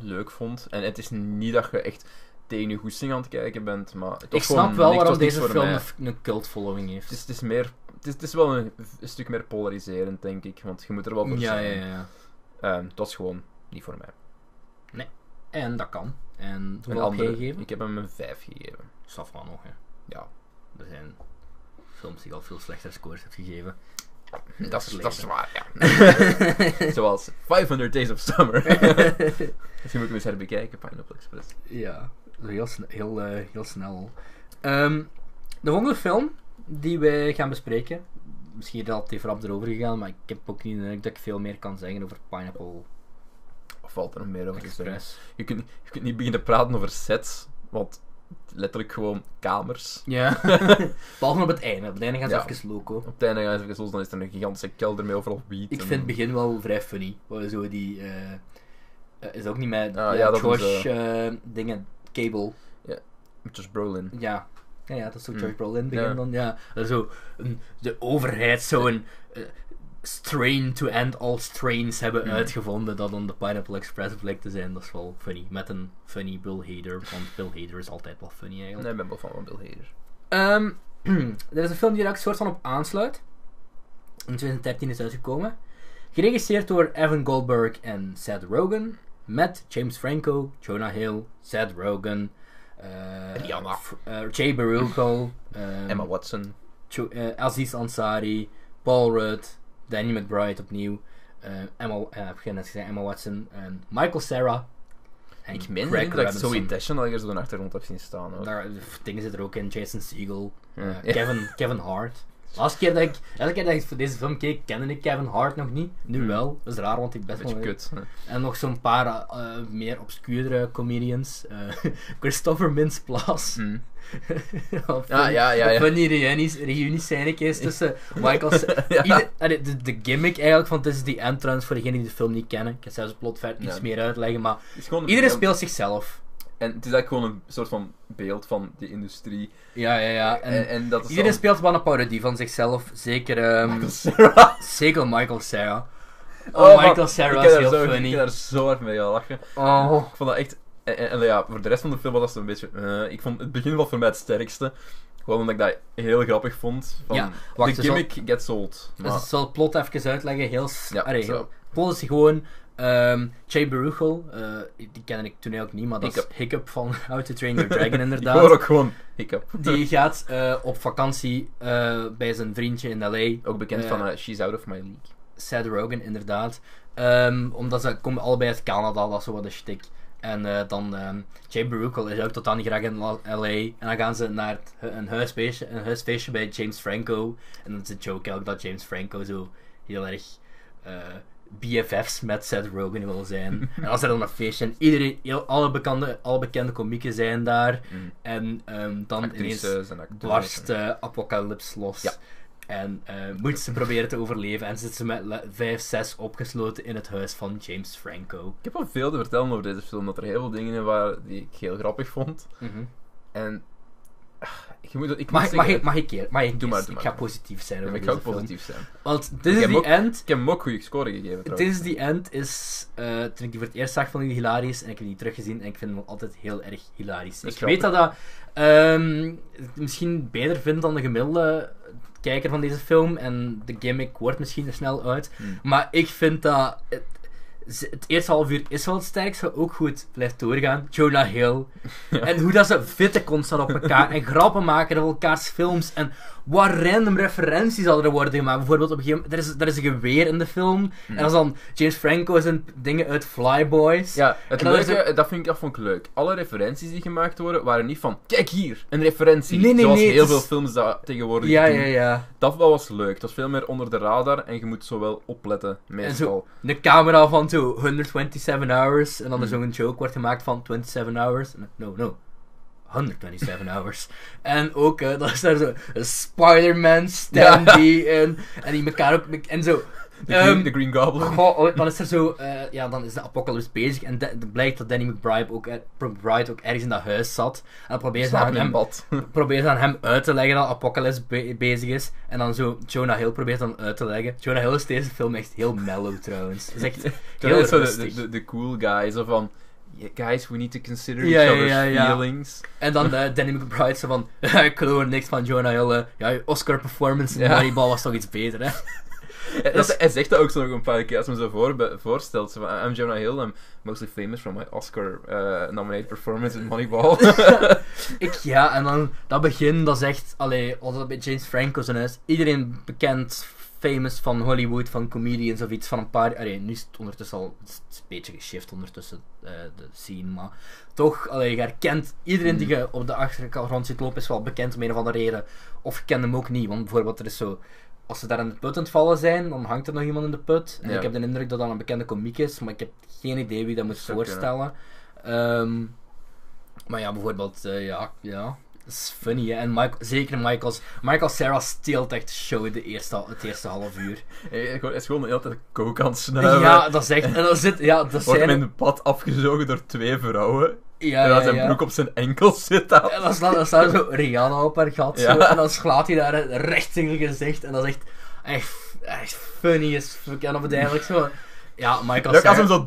leuk vond. En het is niet dat je echt tegen je goesting aan het kijken bent, maar het was ik gewoon snap wel niks- het waarom was niks deze voor film mij. een, een cult following heeft. Het is, het is meer... Het is, het is wel een, een stuk meer polariserend, denk ik. Want je moet er wel voor ja, zijn. ja, ja. Ehm, het was gewoon niet voor mij. En dat kan. En Een hoeveel heb jij andere- gegeven? Ik heb hem een 5 gegeven. Saf maar nog, hè. Ja. Er zijn films die al veel slechter scores heeft gegeven. Dat is, dat is Verleden. waar, ja. Zoals 500 Days of Summer. Misschien moet ik hem eens herbekijken, Pineapple Express. Ja, heel, sne- heel, eh, heel snel. Ehm, de volgende film die wij gaan bespreken. Misschien relatief rap erover gegaan, maar ik heb ook niet de indruk dat ik veel meer kan zeggen over Pineapple Of valt er nog meer over te zeggen? Express. Je kunt, je kunt niet beginnen praten over sets, want letterlijk gewoon kamers. Ja, behalve op het einde. Op het einde gaan ze Ja. even loco. Op het einde gaan ze even los, dan is er een gigantische kelder met overal wiet. Ik en- vind het begin wel vrij funny. Waar Zo die. eh, eh, is dat ook niet met Ah, eh, ja, dat Josh is, eh, dingen. Cable. Josh Brolin. Ja. Ja, ja, dat is ook Hmm. Josh Brolin in het begin Hm. Ja. dan. Ja. Dat is zo een, de overheid zo'n eh, strain to end all strains hebben Hmm. uitgevonden dat dan de Pineapple Express blijkt te zijn. Dat is wel funny. Met een funny Bill Hader, want Bill Hader is altijd wel funny eigenlijk. Nee, ik ben wel van van Bill Hader. Ehm, er is een film die daar ook soort van op aansluit. In 2013 is uitgekomen. Geregisseerd door Evan Goldberg en Seth Rogen. Met James Franco, Jonah Hill, Seth Rogen. eh, Rihanna. F- eh, Jay Baruchel. ehm, Emma Watson. Jo- eh, Aziz Ansari, Paul Rudd, Danny McBride opnieuw. eh, Emma, eh, ik heb net gezegd, Emma Watson. ehm, Michael Sarah. en Ik meen Craig niet dat ik Robinson. Zoe Deschan dat ik er zo'n achtergrond heb zien staan. Ook. Daar, eh, pff, dingen zitten er ook in. Jason Segel, eh, Ja. Kevin, Kevin Hart. Laatste keer dat ik, elke keer dat ik voor deze film keek, kende ik Kevin Hart nog niet. Nu Hmm. wel. Dat is raar, want ik best Beetje wel... kut. hè. En nog zo'n paar eh, eh, meer obscuurdere comedians. eh, Christopher Mintz-Plasse. Hm. Of Ja, ja, ja, ja. Van die reunies, reuniescènekjes tussen Michael... Sa- Ja. Ieder- allee, de, de gimmick eigenlijk van This is the End, trouwens, voor degenen die de film niet kennen. Ik ga zelfs het plot verder iets Ja. meer uitleggen, maar... Het is gewoon een Iedereen beeld- speelt zichzelf. En het is eigenlijk gewoon een soort van beeld van die industrie. Ja, ja, ja. En, En, en dat is Iedereen dan- speelt wel een parodie van zichzelf. Zeker, ehm, eh, Michael Cera. zeker Michael Sarah. Oh, Oh, maar Michael Sarah ik is heb heel daar zo- Ik heb funny. daar zo hard mee gelachen. Oh. Ik vond dat echt... En, en- en ja, voor de rest van de film was dat een beetje... eh, ik vond het begin wel voor mij het sterkste. Gewoon omdat ik dat heel grappig vond. Van, Ja, wacht, the dus al- gimmick gets old. Dus Maar, ik zal het plot even uitleggen. Heel s- Ja, Allee, zo. heel... Plot is gewoon... ehm Jay Baruchel, eh, die ken ik toen ook niet, maar dat Hiccup. is Hiccup van How to Train Your Dragon ik hoor inderdaad. ook gewoon hiccup. Die gaat eh, op vakantie eh, bij zijn vriendje in L.A. Ook bekend Eh, van eh, She's Out of My League. Seth Rogen, inderdaad. Ehm, omdat ze komen allebei uit Canada, dat is zo wat een shtick. En eh, dan, ehm Jay Baruchel is ook tot aan graag in La- LA. En dan gaan ze naar het hu- een, huisfeestje, een huisfeestje bij James Franco. En dan is de joke ook dat James Franco zo heel erg eh, BFF's met Seth Rogen wil zijn. en als er dan een feestje en iedereen, heel, alle, bekende, alle bekende komieken zijn daar. Mm. En ehm, dan ineens Actrices en acteurs. barst eh. de apocalyps los. Ja. En eh, moet ze proberen te overleven. En zit ze met le- vijf, zes opgesloten in het huis van James Franco. Ik heb wel veel te vertellen over deze film. Dat er heel veel dingen in waren die ik heel grappig vond. En... ah, je moet, ik Mag, moet mag, zeggen- ik, mag ik keer? Mag ik Doe maar, eens? doe Ik maar. ga positief zijn Ja, over maar ik ga deze ook film. positief zijn. Want This Ik is heb the ook- End... Ik heb hem ook goede score gegeven trouwens. This is the End is... eh, toen ik die voor het eerst zag, vond ik die hilarisch. En ik heb die teruggezien en ik vind hem altijd heel erg hilarisch. Dat Ik is weet dat dat... ehm, het misschien beter vindt dan de gemiddelde kijker van deze film. En de gimmick wordt misschien er snel uit. Hmm. Maar ik vind dat. Het, ze- het eerste half uur is wel het sterkste, ook hoe het blijft doorgaan. Jonah Hill. En hoe dat ze vitten constant op elkaar en grappen maken over elkaars films. En wat random referenties al er worden gemaakt. Bijvoorbeeld, op een gegeven moment, er is, er is een geweer in de film. En dat is dan James Franco zijn dingen uit Flyboys. Ja, het En dan is leuke, dat, vind ik, dat vond ik leuk. Alle referenties die gemaakt worden, waren niet van, kijk hier, een referentie. Nee, nee, Zoals nee, heel het is- veel films dat tegenwoordig ja, doen. ja. ja. Dat wel was leuk. Het was veel meer onder de radar en je moet zo wel opletten, meestal. Een camera van zo 127 hours. En dan er Hmm. zo'n joke wordt gemaakt van 27 hours. En- No, no. 127 hours. En ook, eh, dat is daar zo een Spider-Man, Stanley en, en die elkaar ook... En zo... De Green, Ehm, de Green Goblin. Goh, oh, dan is er zo, eh, ja, dan is de apocalypse bezig en da- dan blijkt dat Danny McBride ook, er- McBride ook ergens in dat huis zat. En dan probeert ze Slaap aan in een hem, bad. probeert ze aan hem uit te leggen dat apocalypse be- bezig is. En dan zo, Jonah Hill probeert dan uit te leggen. Jonah Hill is deze film echt heel mellow trouwens. Het is echt Dat heel is zo de, rustig. de, de, de cool guy. Zo van, "Yeah, guys, we need to consider Ja, each ja, other's ja, ja. feelings. En dan eh, Danny McBride zo van, ik geloof er niks van Jonah Hill. eh. ja, je Oscar performance in Ja. Moneyball was toch iets beter, hè? Ja, dat, hij zegt dat ook zo nog een paar keer als men zo voor, voorstelt. Zo van, I'm Jonah Hill, I'm mostly famous from my Oscar-nominated performance in Moneyball. Ik, ja, en dan dat begin, dat is echt, allee, als dat bij James Franco zijn huis, iedereen bekend, famous van Hollywood, van comedians of iets, van een paar, allee, nu is het ondertussen al, het is een beetje geshift ondertussen, eh, de scene, maar toch, allee, je herkent, iedereen die je op de achtergrond ziet lopen is wel bekend om een of andere reden, of je kent hem ook niet, want bijvoorbeeld er is zo, als ze daar in de put aan het vallen zijn, dan hangt er nog iemand in de put, en Ja. ik heb de indruk dat dat een bekende komiek is, maar ik heb geen idee wie dat moet zou kunnen. voorstellen. Ehm maar ja, bijvoorbeeld, eh, ja, ja. Dat is funny, hè. En Michael, zeker Michael's... Michael Sarah steelt echt de show de eerste, het eerste half uur. Hij hij is gewoon de hele tijd kook aan het snuiven. ja, dat is echt... En dan zit... Ja, dat Wordt zijn... hem in het bad afgezogen door twee vrouwen. ja, en ja, dan zijn ja. broek op zijn enkel zit af. En dan slaat, dan slaat zo Rihanna op haar gat, zo. Ja. En dan slaat hij daar recht in haar gezicht. En dat is echt... Echt, echt funny as fuck. En op het eigenlijk zo... Ja, Ja, Michael Ook als Cera- hem zo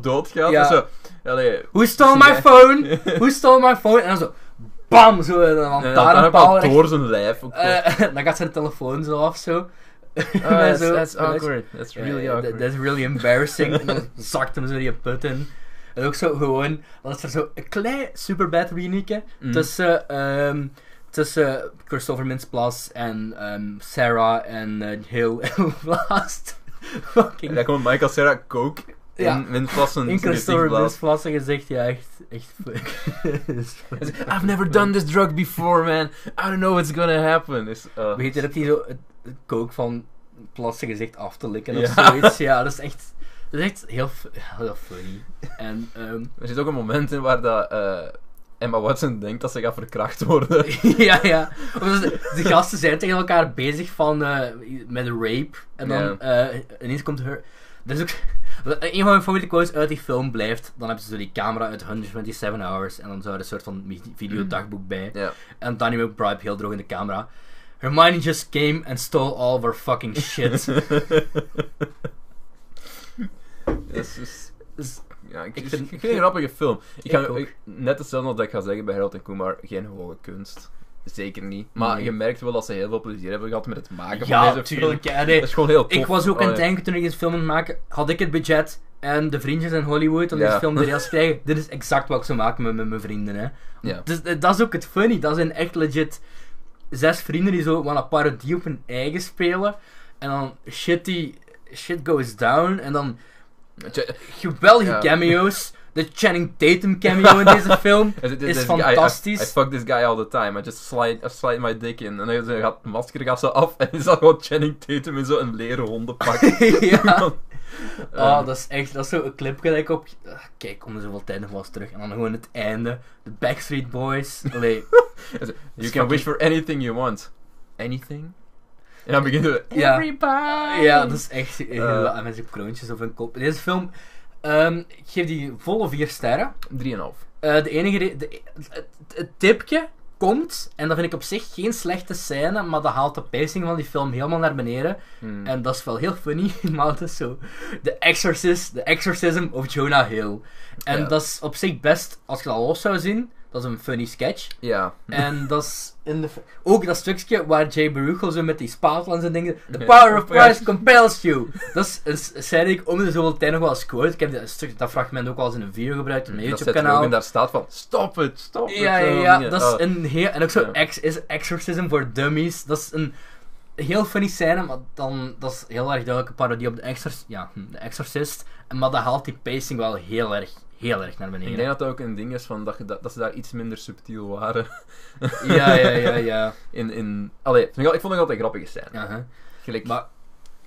Ja. doodgaat. Ja. Zo, allee, Who stole my phone? Who stole my phone? En dan zo... Bam! Zo een en dan heb lantaarnpaal al recht- door zijn lijf. Ook, Ah, zo. Eh, dan gaat zijn telefoon zo af, zo. Ah, Met that's, zo- that's met zo- awkward. That's Ja, really ja, that- awkward. That's really embarrassing. en dan zakt hem zo die put in. En ook zo gewoon, dan is er zo een klein superbad reunieke Mm. tussen, ehm, tussen Christopher Mintz-Plas en ehm, Sarah en eh, Hill en Blast. En Fucking daar komt Michael Cera kook Ja. in, in plassen. in Christopher Mintz-Plas zijn gezicht, ja, echt, echt fuck. I've never done this drug before, man. I don't know what's gonna happen. Is, uh, Weet je dat hij zo het het kook van Plas zijn gezicht af te likken of Ja. zoiets? Ja, dat is echt, dat is echt heel, fu- heel funny. En, ehm, Er zit ook een moment in waar dat, eh, Emma Watson denkt dat ze gaat verkracht worden. ja, ja. Omdat ze- de gasten zijn tegen elkaar bezig van, eh, met rape. En dan eh, ineens komt her... Er is ook... Een van mijn favoriete quotes uit die film blijft... Dan hebben ze zo die camera uit 127 Hours. En dan zou er een soort van mi- videodagboek bij. Ja. En Danny McBride heel droog in de camera. Hermione just came and stole all of her fucking shit. Dus- dus- dus- ja, Ik ik, ik vind- ik vind het vind- een grappige film. Ik ga, Ik ook. ik- net hetzelfde als dat ik ga zeggen bij Harold en Kumar, geen hoge kunst. Zeker niet. Maar Nee. je merkt wel dat ze heel veel plezier hebben gehad met het maken van ja, deze tuurlijk. film. ja, nee. Dat is gewoon heel tof. Ik was ook aan het Allee. denken toen ik deze film aan het maken, had ik het budget en de vriendjes in Hollywood om Ja. deze film de reels te krijgen. Dit is exact wat ik zou maken met, met mijn vrienden. Hè. Ja. Dus, eh, dat is ook het funny. Dat zijn echt legit zes vrienden die zo wel een parodie op hun eigen spelen. En dan shit die shit goes down. En dan Tje- geweldige Ja. cameo's. De Channing Tatum cameo in deze film Is, it- is this guy- I- I- I, fantastisch. fuck this guy all the time. I just slide, I slide my dick in. En dan gaat het masker gaat zo af en is dat gewoon Channing Tatum in zo'n leren hondenpak. ja. Ah, Ehm, dat is echt, dat is zo'n clipje dat ik op... ah, kijk, om de zoveel tijd nog wel eens terug. En dan gewoon het einde. De Backstreet Boys. Allee, You is can fucking- wish for anything you want. Anything? En dan begint het. Ja. Everybody! ja, dat is echt heel... Eh. en met zijn kroontjes of een kop. Deze film... ehm, ik geef die volle vier sterren. 3,5. Eh, de enige... re- de, het, het tipje komt, en dat vind ik op zich geen slechte scène, maar dat haalt de pacing van die film helemaal naar beneden. Hmm. En dat is wel heel funny, maar het is zo. The Exorcist, The Exorcism of Jonah Hill. En Ja. dat is op zich best, als je dat los zou zien, dat is een funny sketch. Ja. En dat is in de... Ook dat stukje waar Jay Baruchel zo met die spatel en zijn dingen... The Ja. power of Ja. Christ compels you! Dat is een s- scène die ik om de zoveel tijd nog wel eens quote. Ik heb dat, stuk, dat fragment ook wel eens in een video gebruikt op mijn Mm, Dat Seth YouTube-kanaal. Rogen daar staat van: stop het, stop het. Ja, ja, eh, ja. dingen. Dat is Oh. een heel... En ook zo Ja. ex, is Exorcism voor Dummies. Dat is een heel funny scène, maar dan... Dat is heel erg duidelijk een parodie op de, exorcist ja, hm, de Exorcist. En- Maar dat haalt die pacing wel heel erg, heel erg naar Ik beneden. denk dat dat ook een ding is van dat, je dat, dat ze daar iets minder subtiel waren. Ja, ja, ja, ja. In, in, allee, ik vond het altijd grappige scène. Aha. Gelijk, Maar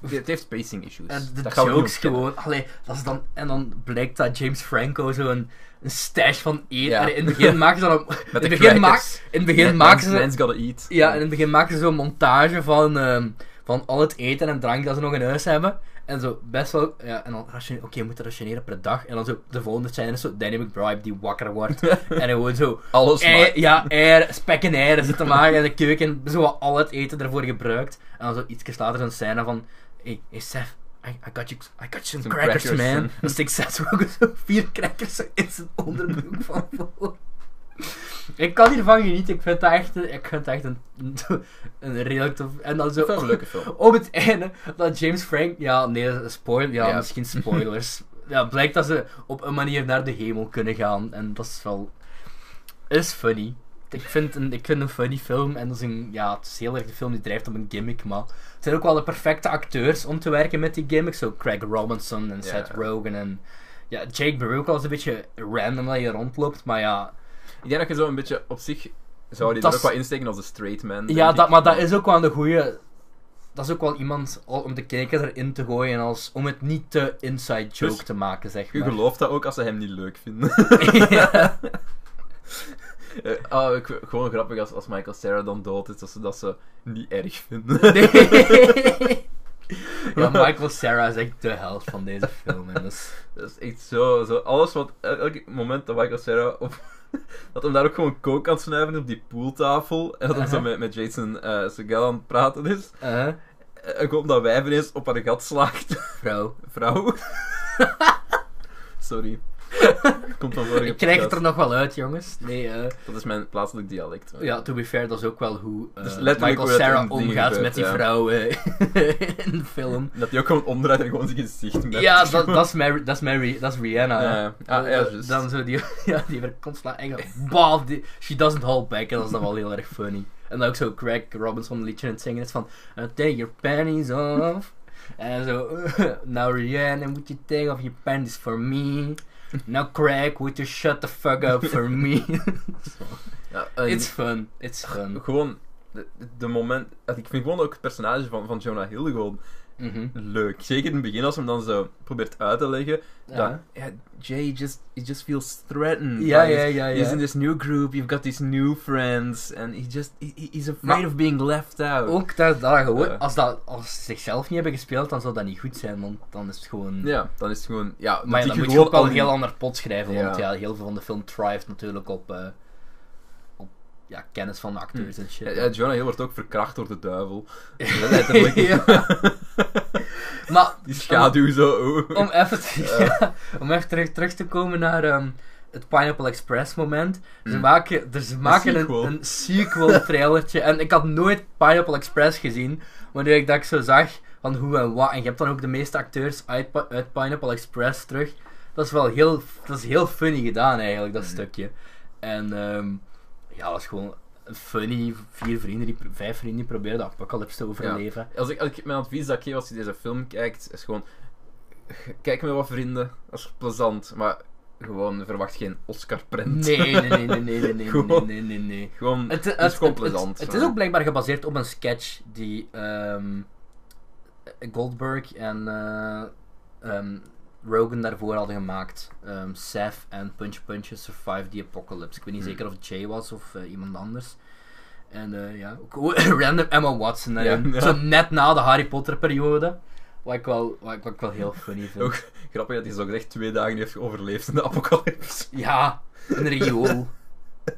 Het heeft pacing issues. En de Dus dat gaan we niet jokes ontkennen. gewoon. Allee, dat is dan, en dan blijkt dat James Franco zo'n een stash van eten. Ja. Allee, in het begin maken ze dan. in, Met de het begin crackers. maak- in het begin Man- maken ze. man's- man's gotta eat. Ja, in het begin maken ze zo'n montage van, ehm, van al het eten en drank dat ze nog in huis hebben. En zo best wel. Ja, en dan ration- oké, je moet rationeren per dag. En dan zo de volgende scène is zo Dynamic Bribe die wakker wordt. en gewoon zo. Alles ei- maar. ja, eieren, spek en eieren zitten maken in de keuken. Zo wat al het eten ervoor gebruikt. En dan zo iets later een scène van. Hey, hey Seth. I, I got you, I got you some, Some crackers, crackers, man. man. En dan steekt Seth ook zo vier crackers zo in zijn onderbroek van voor. Ik kan hiervan genieten. Ik vind dat echt, een- ik vind dat echt een, een redelijk tof... En dan Ik vind het zo... een leuke film. Op het einde, dat James Frank... Ja, nee, dat is spoil, ja, Ja. misschien spoilers. ja, blijkt dat ze op een manier naar de hemel kunnen gaan. En dat is wel... Is funny. Ik vind, een, ik vind een funny film. En dat is een... Ja, het is heel erg de film die drijft op een gimmick, maar... Het zijn ook wel de perfecte acteurs om te werken met die gimmicks. Zo Craig Robinson en Ja. Seth Rogen en... Ja, Jake Baruch was een beetje random dat je rondloopt, maar ja... Ik denk dat je zo een beetje op zich zou die Dat er ook is- wat insteken als de straight man. denk Ja, ik. dat, maar dat is ook wel een goede. Dat is ook wel iemand al- om de kijker erin te gooien als om het niet te inside joke Dus, te maken, zeg Je maar. gelooft dat ook als ze hem niet leuk vinden. ja. Eh, ah, ik- gewoon grappig als, als Michael Sarah dan dood is, dat ze dat ze niet erg vinden. Nee. ja, Michael Sarah is echt de helft van deze film. En dus, Dat is echt zo, zo. Alles wat. el- Elk moment dat Michael Sarah op. Dat hem daar ook gewoon coke aan het snuiven is op die pooltafel. En dat hij zo Uh-huh. met, met Jason eh Segel aan het praten is. eh, En gewoon dat wijf ineens op haar gat slaagt. vrouw. Vrouw. Sorry. Komt van vorige Ik krijg het er nog podcast. wel uit, jongens. Nee, eh, Dat is mijn plaatselijk dialect. ja, to be fair, dat is ook wel hoe eh, Dus letterlijk Michael hoe dat in Sarah dingen omgaat gebeurt, met die ja. vrouw eh, in de film. Dat hij ook gewoon omdraait en gewoon zijn gezicht met. Ja, dat dat is Mary, dat is Mary, dat is Rihanna. hè. Ja, ja. Ah, ja, juist. Eh, Dan zo die, ja, die werd constant echt bam, die, she doesn't hold back, en dat is dan wel heel erg funny. En dan ook zo Craig Robinson een liedje aan het zingen is van, eh, take your panties off. En zo, now Rihanna, would you take off your panties for me? Now Craig, would you shut the fuck up for me? Ja, en- It's fun, it's fun. Gewoon. De, de moment. eh, Ik vind gewoon ook het personage van, van Jonah Hill gewoon Mhm. leuk. Zeker in het begin, als hij hem dan zo probeert uit te leggen. Dat, Ja, ja, Jay just, he just feels threatened. ja, Like, ja, ja. He's ja. in this new group, you've got these new friends, and he just, he- he- he's afraid Maar- of being left out. Ook dat, dat Ja. gewoon, als, dat, als ze zichzelf niet hebben gespeeld, dan zou dat niet goed zijn, want dan is het gewoon... Ja, dan is het gewoon, ja, Maar ja, dat dan die moet je ook al een al- heel ander pot schrijven, want Ja. ja, heel veel van de film thrived natuurlijk op, eh, op ja, kennis van de acteurs en Hmm. Ja, shit. ja, Jonah Hill wordt ook verkracht door de duivel. Letterlijk. Letterlijk. Maar Die schaduw zo. oh. om even, te- ja, om even terug, terug te komen naar ehm, het Pineapple Express moment. Ze Mm. maken, dus ze maken een, sequel. een, sequel trailertje. en ik had nooit Pineapple Express gezien. Maar nu ik dat ik zo zag van hoe en wat. En je hebt dan ook de meeste acteurs uit, Pi- uit Pineapple Express terug. Dat is wel heel, dat is heel funny gedaan eigenlijk, dat Mm. stukje. En ehm, ja, dat is gewoon funny. Vier vrienden, die, pro- vijf vrienden die proberen de apocalypse te overleven. Als ik, als ik mijn advies dat ik geef als je deze film kijkt, is gewoon... Kijk met wat vrienden, dat is plezant, maar gewoon verwacht geen Oscar-prent. Nee, nee, nee, nee, nee, nee, nee, nee, Gewoon- nee, nee, nee. Gewoon, Het, het, het, is gewoon het- het- plezant. het is ook blijkbaar gebaseerd op een sketch die ehm, Goldberg en eh, ehm, Rogan daarvoor hadden gemaakt. Ehm Seth en Punch Punch Survive the Apocalypse. Ik weet niet Hmm. zeker of het Jay was of eh, iemand anders. En eh, ja, ook gewoon random Emma Watson daarin. Ja, ja. Zo net na de Harry Potter periode. Wat ik wel, wat ik, wat ik wel heel funny vind. Ook grappig dat hij zo gezegd twee dagen heeft overleefd in de apocalypse. Ja, een riool. I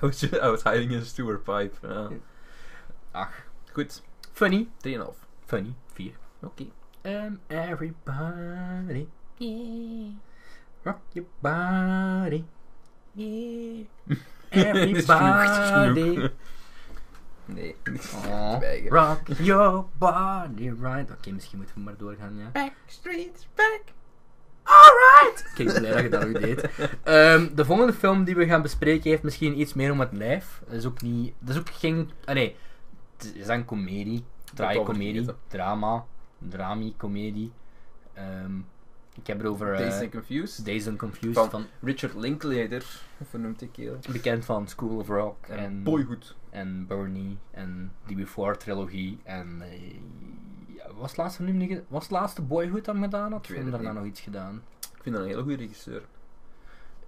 was, ju- I was hiding in a sewer pipe. Ja. Ach, Goed, 3,5. funny. Oké. Funny. Vier. Um, everybody, yeah. Rock your body, yeah. Dit is genoeg, dit is genoeg. Everybody, Nee. Aw, Zwijgen. rock your body right. Oké, misschien moeten we maar doorgaan, ja. Backstreet back. Alright! Kijk, ik ben blij dat je dat ook deed. Ehm, de volgende film die we gaan bespreken heeft misschien iets meer om het lijf. Dat is ook niet... Dat is ook geen... Ah, nee. Het is een komedie. Draai-komedie. vergeten. Drama. Drami-komedie. Ehm, ik heb het over... eh, Dazed and Confused. Dazed and Confused Van- van Richard Linklater, vernoemt ik heel. Bekend van School of Rock En en, Boyhood. en Bernie en die Before trilogie en eh, Ja, was, het laatste film die ge- was het laatste Boyhood dat hem gedaan had? Ik Of weet hem het daarna niet. nog iets gedaan? Ik vind dat een hele goede regisseur.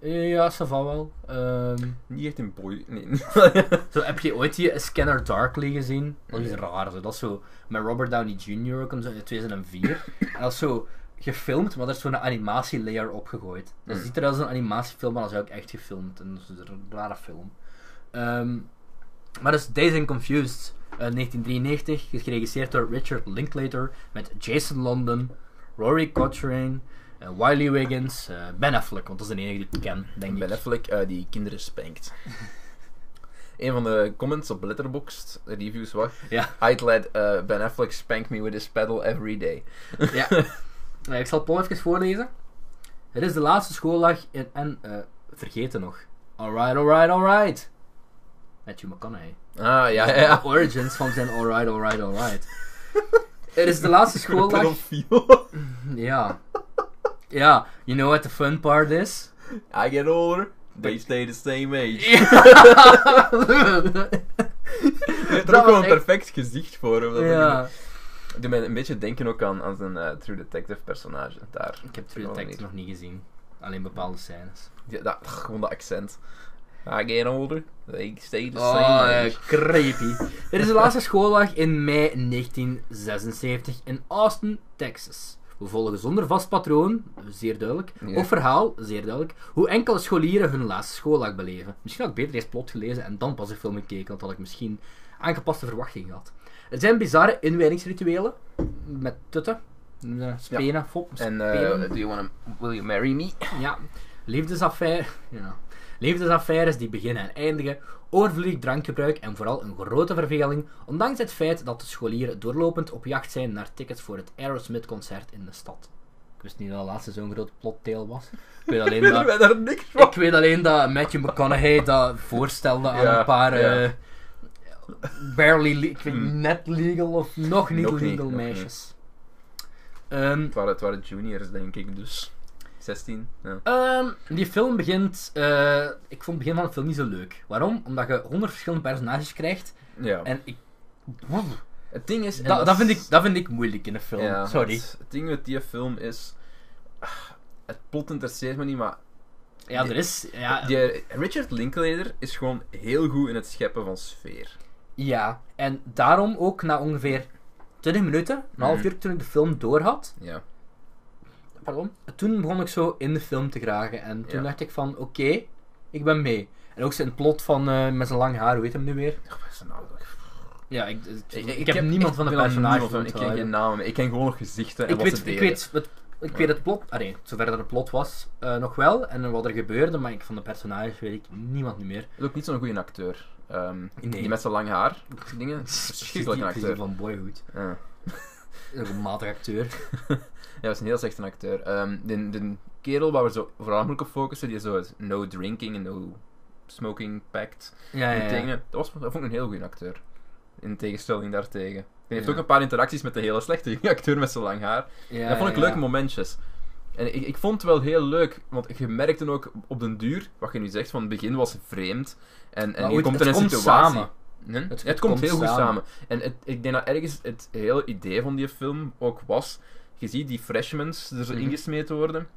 Eh, Ja, ça va wel. Ehm, Niet echt een boy. Nee. zo, heb je ooit die Scanner Darkly gezien? Dat is Nee. raar. Zo. Dat is zo met Robert Downey Jr. ook in zo- in 2004. en dat is zo gefilmd, maar er is zo'n animatielayer opgegooid. Dat Hmm. ziet er als een animatiefilm, maar dat is ook echt gefilmd. En dat is een rare film. Ehm, maar dus Days and Confused, eh, 1993, is geregisseerd door Richard Linklater met Jason London, Rory Cochrane, eh, Wiley Wiggins, eh, Ben Affleck, want dat is de enige die ik ken, denk ik. Ben Affleck eh, die kinderen spankt. een van de comments op Letterboxd, de reviews was... Ja. I'd let eh, Ben Affleck spank me with his pedal every day. Ja. Eh, ik zal het Paul even voorlezen. Het is de laatste schooldag in, en eh, vergeten nog. Alright, alright, alright. Matthew McConaughey. Ah, ja, ja. De ja. origins van zijn alright, alright, alright. Het is de laatste schooldag. Pedofiel. Ja. Ja, you know what the fun part is? I get older, they stay the same age. Er is er Dat ook wel was een echt- perfect gezicht voor. om dat te ja. doen. Het doet mij een beetje denken ook aan, aan zijn eh, True Detective personage daar. Ik heb True Oh, Detective nee. nog niet gezien. Alleen bepaalde scènes. Ja, dat, gewoon dat accent. I get older, they stay the Oh, same eh, age. creepy. Dit is de laatste schooldag in mei 1976 in Austin, Texas. We volgen zonder vast patroon, zeer duidelijk, Ja. of verhaal, zeer duidelijk, hoe enkele scholieren hun laatste schooldag beleven. Misschien had ik beter eerst plot gelezen en dan pas de film gekeken, want dan had ik misschien aangepaste verwachtingen gehad. Het zijn bizarre inwijdingsrituelen met tutten, eh, spenen, fop, En spenen. eh, do you wanna, will you marry me? Ja, liefdesaffaire. Ja. Liefdesaffaires die beginnen en eindigen, overvloedig drankgebruik en vooral een grote verveling, ondanks het feit dat de scholieren doorlopend op jacht zijn naar tickets voor het Aerosmith-concert in de stad. Ik wist niet dat de laatste zo'n groot plotdeel was. Ik weet alleen Weten dat, wij daar niks van? ik weet alleen dat Matthew McConaughey dat voorstelde aan Ja, een paar ja. Hmm. eh, barely, le- ik weet net legal of nog niet Nog niet, legal nog meisjes. Ehm, Het waren, het waren juniors, denk ik, dus 16. Ja. Ehm, die film begint. eh, ik vond het begin van de film niet zo leuk. Waarom? Omdat je honderd verschillende personages krijgt. ja. En ik. het ding is. en Dat, dat, is- vind ik, dat vind ik moeilijk in een film. Ja, Sorry. Het, het ding met die film is. ah, Het plot interesseert me niet, maar ja, er is. Ja, die eh, Richard Linklater is gewoon heel goed in het scheppen van sfeer. ja, en daarom ook na ongeveer 20 minuten, een half Mhm. uur toen ik de film door had. Ja. Pardon? Toen begon ik zo in de film te gragen. En toen Ja. dacht ik van: oké, ik ben mee. En ook zijn plot van eh, met zijn lang haar, hoe heet hem nu weer? Ja, ik, ik, ik heb, niemand van de personages. Ik ken onthouden. geen namen, ik ken gewoon nog gezichten en ik wat weet, ze ik deden. weet, het, ik Ja. weet het plot, allee, zover dat het plot was, eh, nog wel, en wat er gebeurde, maar ik, van de personages weet ik niemand niet meer. Hij is ook niet zo'n goede acteur. Ehm, Nee. Die met zijn lang haar dingen. Dus Verschrikkelijk een Precies die acteur. van Boyhood. Ja. Een matig acteur. Ja, dat is een heel slechte acteur. Ehm, de, de kerel waar we zo voornamelijk op focussen, die zo het no drinking en no smoking pact. Ah, Ja, die ja, ja. dingen, dat, was, dat vond ik een heel goede acteur. In tegenstelling daartegen. Hij heeft Ja. ook een paar interacties met de hele slechte acteur met zijn lang haar. Ja, dat vond ik ja, leuke ja. momentjes. En ik, ik vond het wel heel leuk, want je merkte ook op den duur, wat je nu zegt, van het begin was vreemd. En, Maar en je goed, komt in het een komt situatie. samen. Nee? Het, Het- komt, komt heel goed samen. samen. En het, ik denk dat ergens het hele idee van die film ook was. Je ziet die freshmans er zo Mhm. ingesmeten worden.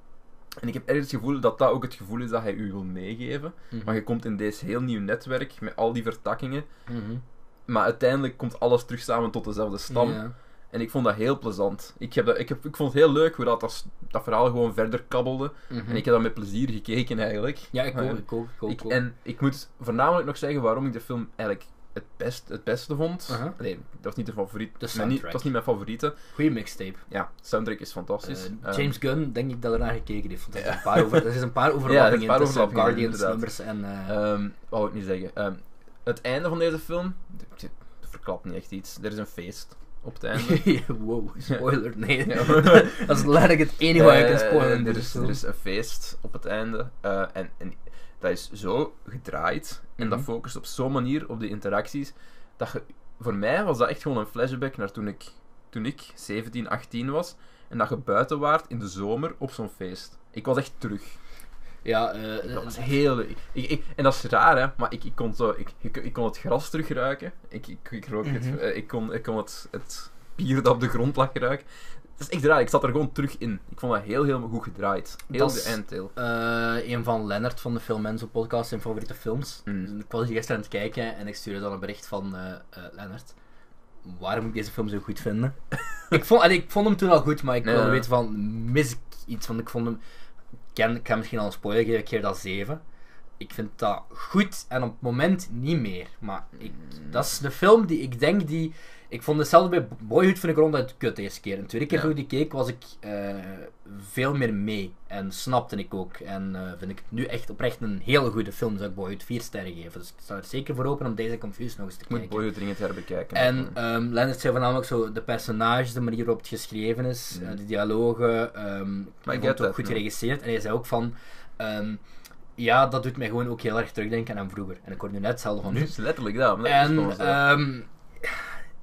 En ik heb ergens het gevoel dat dat ook het gevoel is dat hij u wil meegeven. Mhm. Maar je komt in deze heel nieuw netwerk met al die vertakkingen. Mhm. Maar uiteindelijk komt alles terug samen tot dezelfde stam. Ja. En ik vond dat heel plezant. Ik, heb dat, ik, heb, ik vond het heel leuk hoe dat, dat, dat verhaal gewoon verder kabbelde. Mhm. En ik heb dat met plezier gekeken eigenlijk. ja, ik Maar ook, ik ook, ik ook. ik, ook. en ik moet voornamelijk nog zeggen waarom ik de film eigenlijk het, best, het beste vond. Aha. Nee, dat was niet de favoriet. De mijn, niet- soundtrack. dat was niet mijn favoriete. Goeie mixtape. Ja, de soundtrack is fantastisch. Eh, Ehm, James Gunn, denk ik dat er naar gekeken heeft. Want er Ja. is een paar, over, er is een paar er overlappingen is een paar tussen overlappingen, Guardians inderdaad. nummers en... eh, ehm, wat wil ik nu zeggen? Ehm, het einde van deze film. Ik verklap niet echt iets. Er is een feest op het einde. wow, spoiler, nee. Ja. dat is letterlijk het enige wat ik kan Eh, spoilen. in er, deze is, film. er is een feest op het einde. eh, en, en dat is zo gedraaid. En dat Mhm. focust op zo'n manier op de interacties. Dat je, voor mij was dat echt gewoon een flashback naar toen ik, toen ik 17, 18 was. En dat je buiten waart in de zomer op zo'n feest. Ik was echt terug. Ja, eh, Dat was eh, heel leuk. Ik, ik, en dat is raar, hè. Maar ik, ik, kon, zo, ik, ik, ik kon het gras terugruiken. Ik, ik, ik, rook het, Mhm. eh, ik kon, ik kon het, het gespierd op de grond lag geraakt. Het is echt raar, ik zat er gewoon terug in. Ik vond dat heel, heel goed gedraaid. Heel Dat de is- eindtail. Eh, een van Lennart van de Film Enzo podcast, zijn favoriete films. Mm. Dus ik was hier gisteren aan het kijken en ik stuurde dan een bericht van eh eh, Lennart. Waarom moet ik deze film zo goed vinden? ik, vond, allee, ik vond hem toen al goed, maar ik Nee, wilde nee. weten van, mis ik iets? Want ik vond hem... Ik, ken, ik ga misschien al een spoiler geven, ik geef dat 7. Ik vind dat goed en op het moment niet meer. Maar ik, dat is de film die ik denk die... Ik vond hetzelfde bij Boyhood vind ik ronduit kut de eerste keer. En de tweede keer Ja. toen ik die keek was ik eh, veel meer mee. En snapte ik ook. En eh, vind ik het nu echt oprecht een hele goede film. Zou ik Boyhood 4 sterren geven. Dus ik sta er zeker voor open om deze Confused nog eens te Ik moet kijken. Boyhood dringend herbekijken. En ehm Leonard zei voornamelijk zo de personages, de manier waarop het geschreven is, Mm. eh, de dialogen. ehm ik vond get het ook that, goed man. geregisseerd. En hij zei ook van. ehm, ja, dat doet mij gewoon ook heel erg terugdenken aan vroeger. En ik hoor nu net hetzelfde van nu nu. is letterlijk dat. maar eh, dat is En gewoon zo. ehm,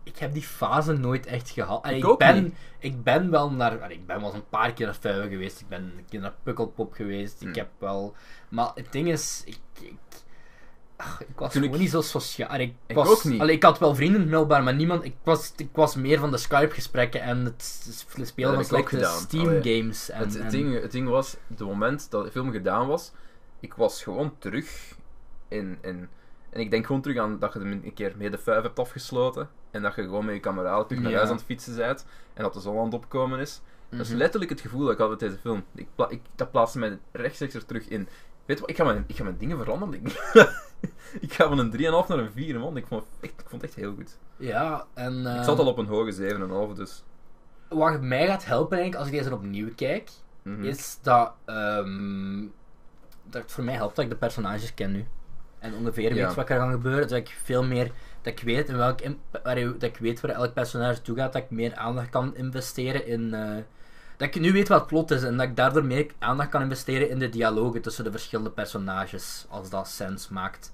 ik heb die fase nooit echt gehad. En Ik ik, ook ben, niet. ik ben wel naar. allee, Ik ben wel eens een paar keer naar Fuiven geweest. Ik ben een keer naar Pukkelpop geweest. Hmm. Ik heb wel. Maar het ding is, ik. ik ach, ik was Toen ik- gewoon niet zo sociaal. allee, Ik, Ik was, ook niet. allee, ik had wel vrienden in Middelbaar, maar niemand. Ik was, ik was meer van de Skype-gesprekken en het s- s- Ja, spelen van de zulke lockdown. Allee. Steam-games. en- Oh, het, het en- ding, het ding was, het moment dat de film gedaan was, ik was gewoon terug in... in en ik denk gewoon terug aan dat je hem een keer mee de vuif hebt afgesloten. En dat je gewoon met je kameraden terug naar Ja. huis aan het fietsen bent. En dat de zon aan het opkomen is. Dat is Mhm. letterlijk het gevoel dat ik had met deze film. Ik pla- ik, dat plaatste mij rechtstreeks er terug in. Weet je wat, ik ga mijn, ik ga mijn dingen veranderen. Ik, ik ga van een 3,5 naar een 4, man. Ik vond, het echt- ik vond het echt heel goed. Ja, en. Ik ehm, zat al op een hoge 7,5, dus... Wat mij gaat helpen eigenlijk als ik deze opnieuw kijk. mhm. is dat, ehm, dat het voor mij helpt dat ik de personages ken nu. En ongeveer Ja. weet wat er gaat gebeuren. Dat ik veel meer dat ik weet in welk imp- waar, dat ik weet waar elk personage toe gaat, dat ik meer aandacht kan investeren in. eh, dat ik nu weet wat het plot is en dat ik daardoor meer aandacht kan investeren in de dialogen tussen de verschillende personages, als dat sens maakt.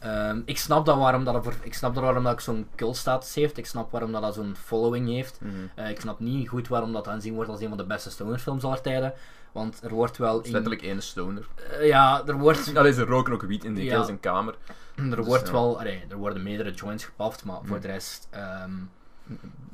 Ehm, ik snap dat waarom dat, er voor- ik snap dat waarom dat ik zo'n cultstatus heeft. Ik snap waarom dat, dat zo'n following heeft. Mhm. Eh, ik snap niet goed waarom dat aanzien wordt als een van de beste stonerfilms aller tijden. Want er wordt wel Het is in... letterlijk één stoner. Eh, ja, er wordt, Allee, ze roken ook wiet in die Ja. heel zijn kamer. er Dus, wordt ja. wel... allee, er worden meerdere joints gepaft, maar voor Hm. de rest... ehm,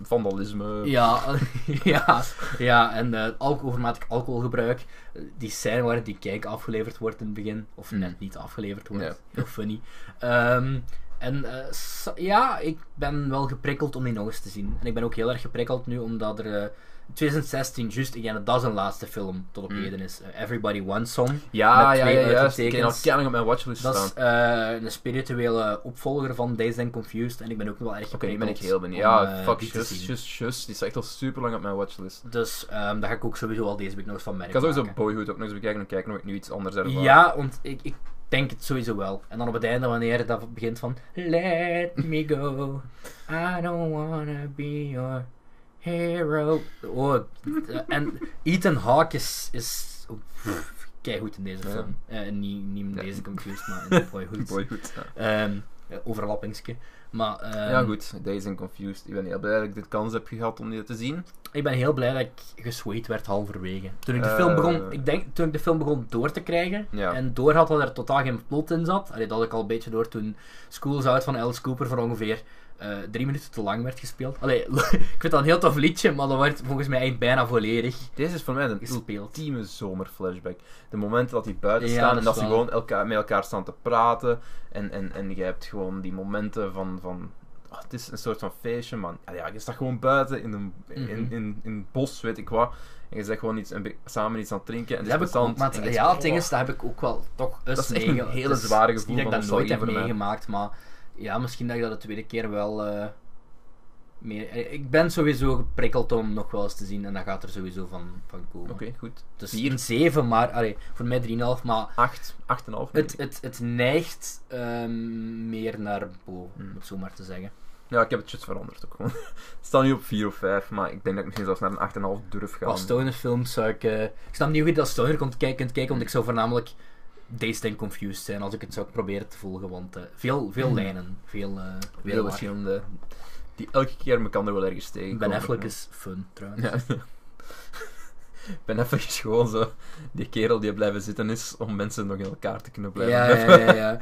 Vandalisme. ja, ja, ja, en eh alcohol, overmatig alcoholgebruik. Eh, Die scène waar die kijk afgeleverd wordt in het begin, of Hm. net niet afgeleverd wordt. Heel funny. Ehm, en eh, s- ja, ik ben wel geprikkeld om die nog eens te zien. En ik ben ook heel erg geprikkeld nu, omdat er... eh, 2016, juist, ik denk dat dat zijn laatste film tot op Mm. heden is. Eh, Everybody Wants Some. Ja, Met ja, twee ja, juist. Ik ken al uitroeptekens. keihard op mijn watchlist Dat staan. is eh, een spirituele opvolger van Days and Confused. En ik ben ook wel erg Oké, nu geprikkeld ben ik heel benieuwd. om, Ja, eh, fuck, die te just, zien. just, just. Die staat echt al super lang op mijn watchlist. Dus ehm daar ga ik ook sowieso al deze week nog eens van Ik merken. ga sowieso Boyhood ook nog eens bekijken en kijken of ik nu iets anders ervaar. Ja, want ik, ik denk het sowieso wel. En dan op het einde, wanneer dat begint van... Let me go, I don't wanna be your hero. Oh, eh, en Ethan Hawke is... is Kijk goed in deze Ja. film. Eh, niet, niet in Ja. deze confused, maar in Boyhood. Boyhood. Ja. Ehm eh, overlappingske. Maar ehm, ja, goed. Days and Confused. Ik ben heel blij dat ik de kans heb gehad om die te zien. ik ben heel blij dat ik gesweet werd halverwege. Toen ik de Eh. film begon, ik denk, toen ik de film begon door te krijgen, Ja. En door had dat er totaal geen plot in zat. Allee, dat had ik al een beetje door toen Schools Out van Alice Cooper voor ongeveer eh, drie minuten te lang werd gespeeld. Allee, ik vind dat een heel tof liedje, maar dat werd volgens mij echt bijna volledig Deze is voor mij een gespeeld. ultieme zomerflashback. De momenten dat die buiten Ja, staan dat en is dat ze waar. gewoon elkaar, met elkaar staan te praten. En, en, en je hebt gewoon die momenten van. van ah, het is een soort van feestje, man. Ah, Ja, ja, je staat gewoon buiten in, een, in, Mhm. in, in, het bos, weet ik wat. En je zegt gewoon iets, een be- samen iets aan het drinken. En Dat het is heb ik ook, plezant. maar en het- je ja, zegt, het ding oh, is, dat heb ik ook wel toch eens Dat is echt een meege- hele het is- zware het is gevoel niet dat van ik dat nooit heb nostalgie voor mij. meegemaakt, maar ja, misschien dat ik dat de tweede keer wel eh, meer... eh, Ik ben sowieso geprikkeld om nog wel eens te zien en dat gaat er sowieso van, van komen. Oké, goed. Dus vier. een 7, maar allee, voor mij 3,5, maar Acht, acht en een half. Het, Het... het, het neigt ehm, meer naar boven, Hmm. om het zo maar te zeggen. Ja, ik heb het just veranderd ook gewoon. Het staat nu op vier of vijf, maar ik denk dat ik misschien zelfs naar een acht en een half durf gaan. Qua stonerfilms zou ik... eh, ik snap niet hoe je dat stoner kunt kijken, kunt kijken, want ik zou voornamelijk Dazed and Confused zijn als ik het zou proberen te volgen, want eh, veel, veel Hmm. lijnen, veel... eh Heel veel verschillende. Die elke keer me kan er wel ergens tegen. ben Affleck is fun, trouwens. Ja. Ben even gewoon zo die kerel die blijven zitten is om mensen nog in elkaar te kunnen blijven. Ja, ja, heffen. ja.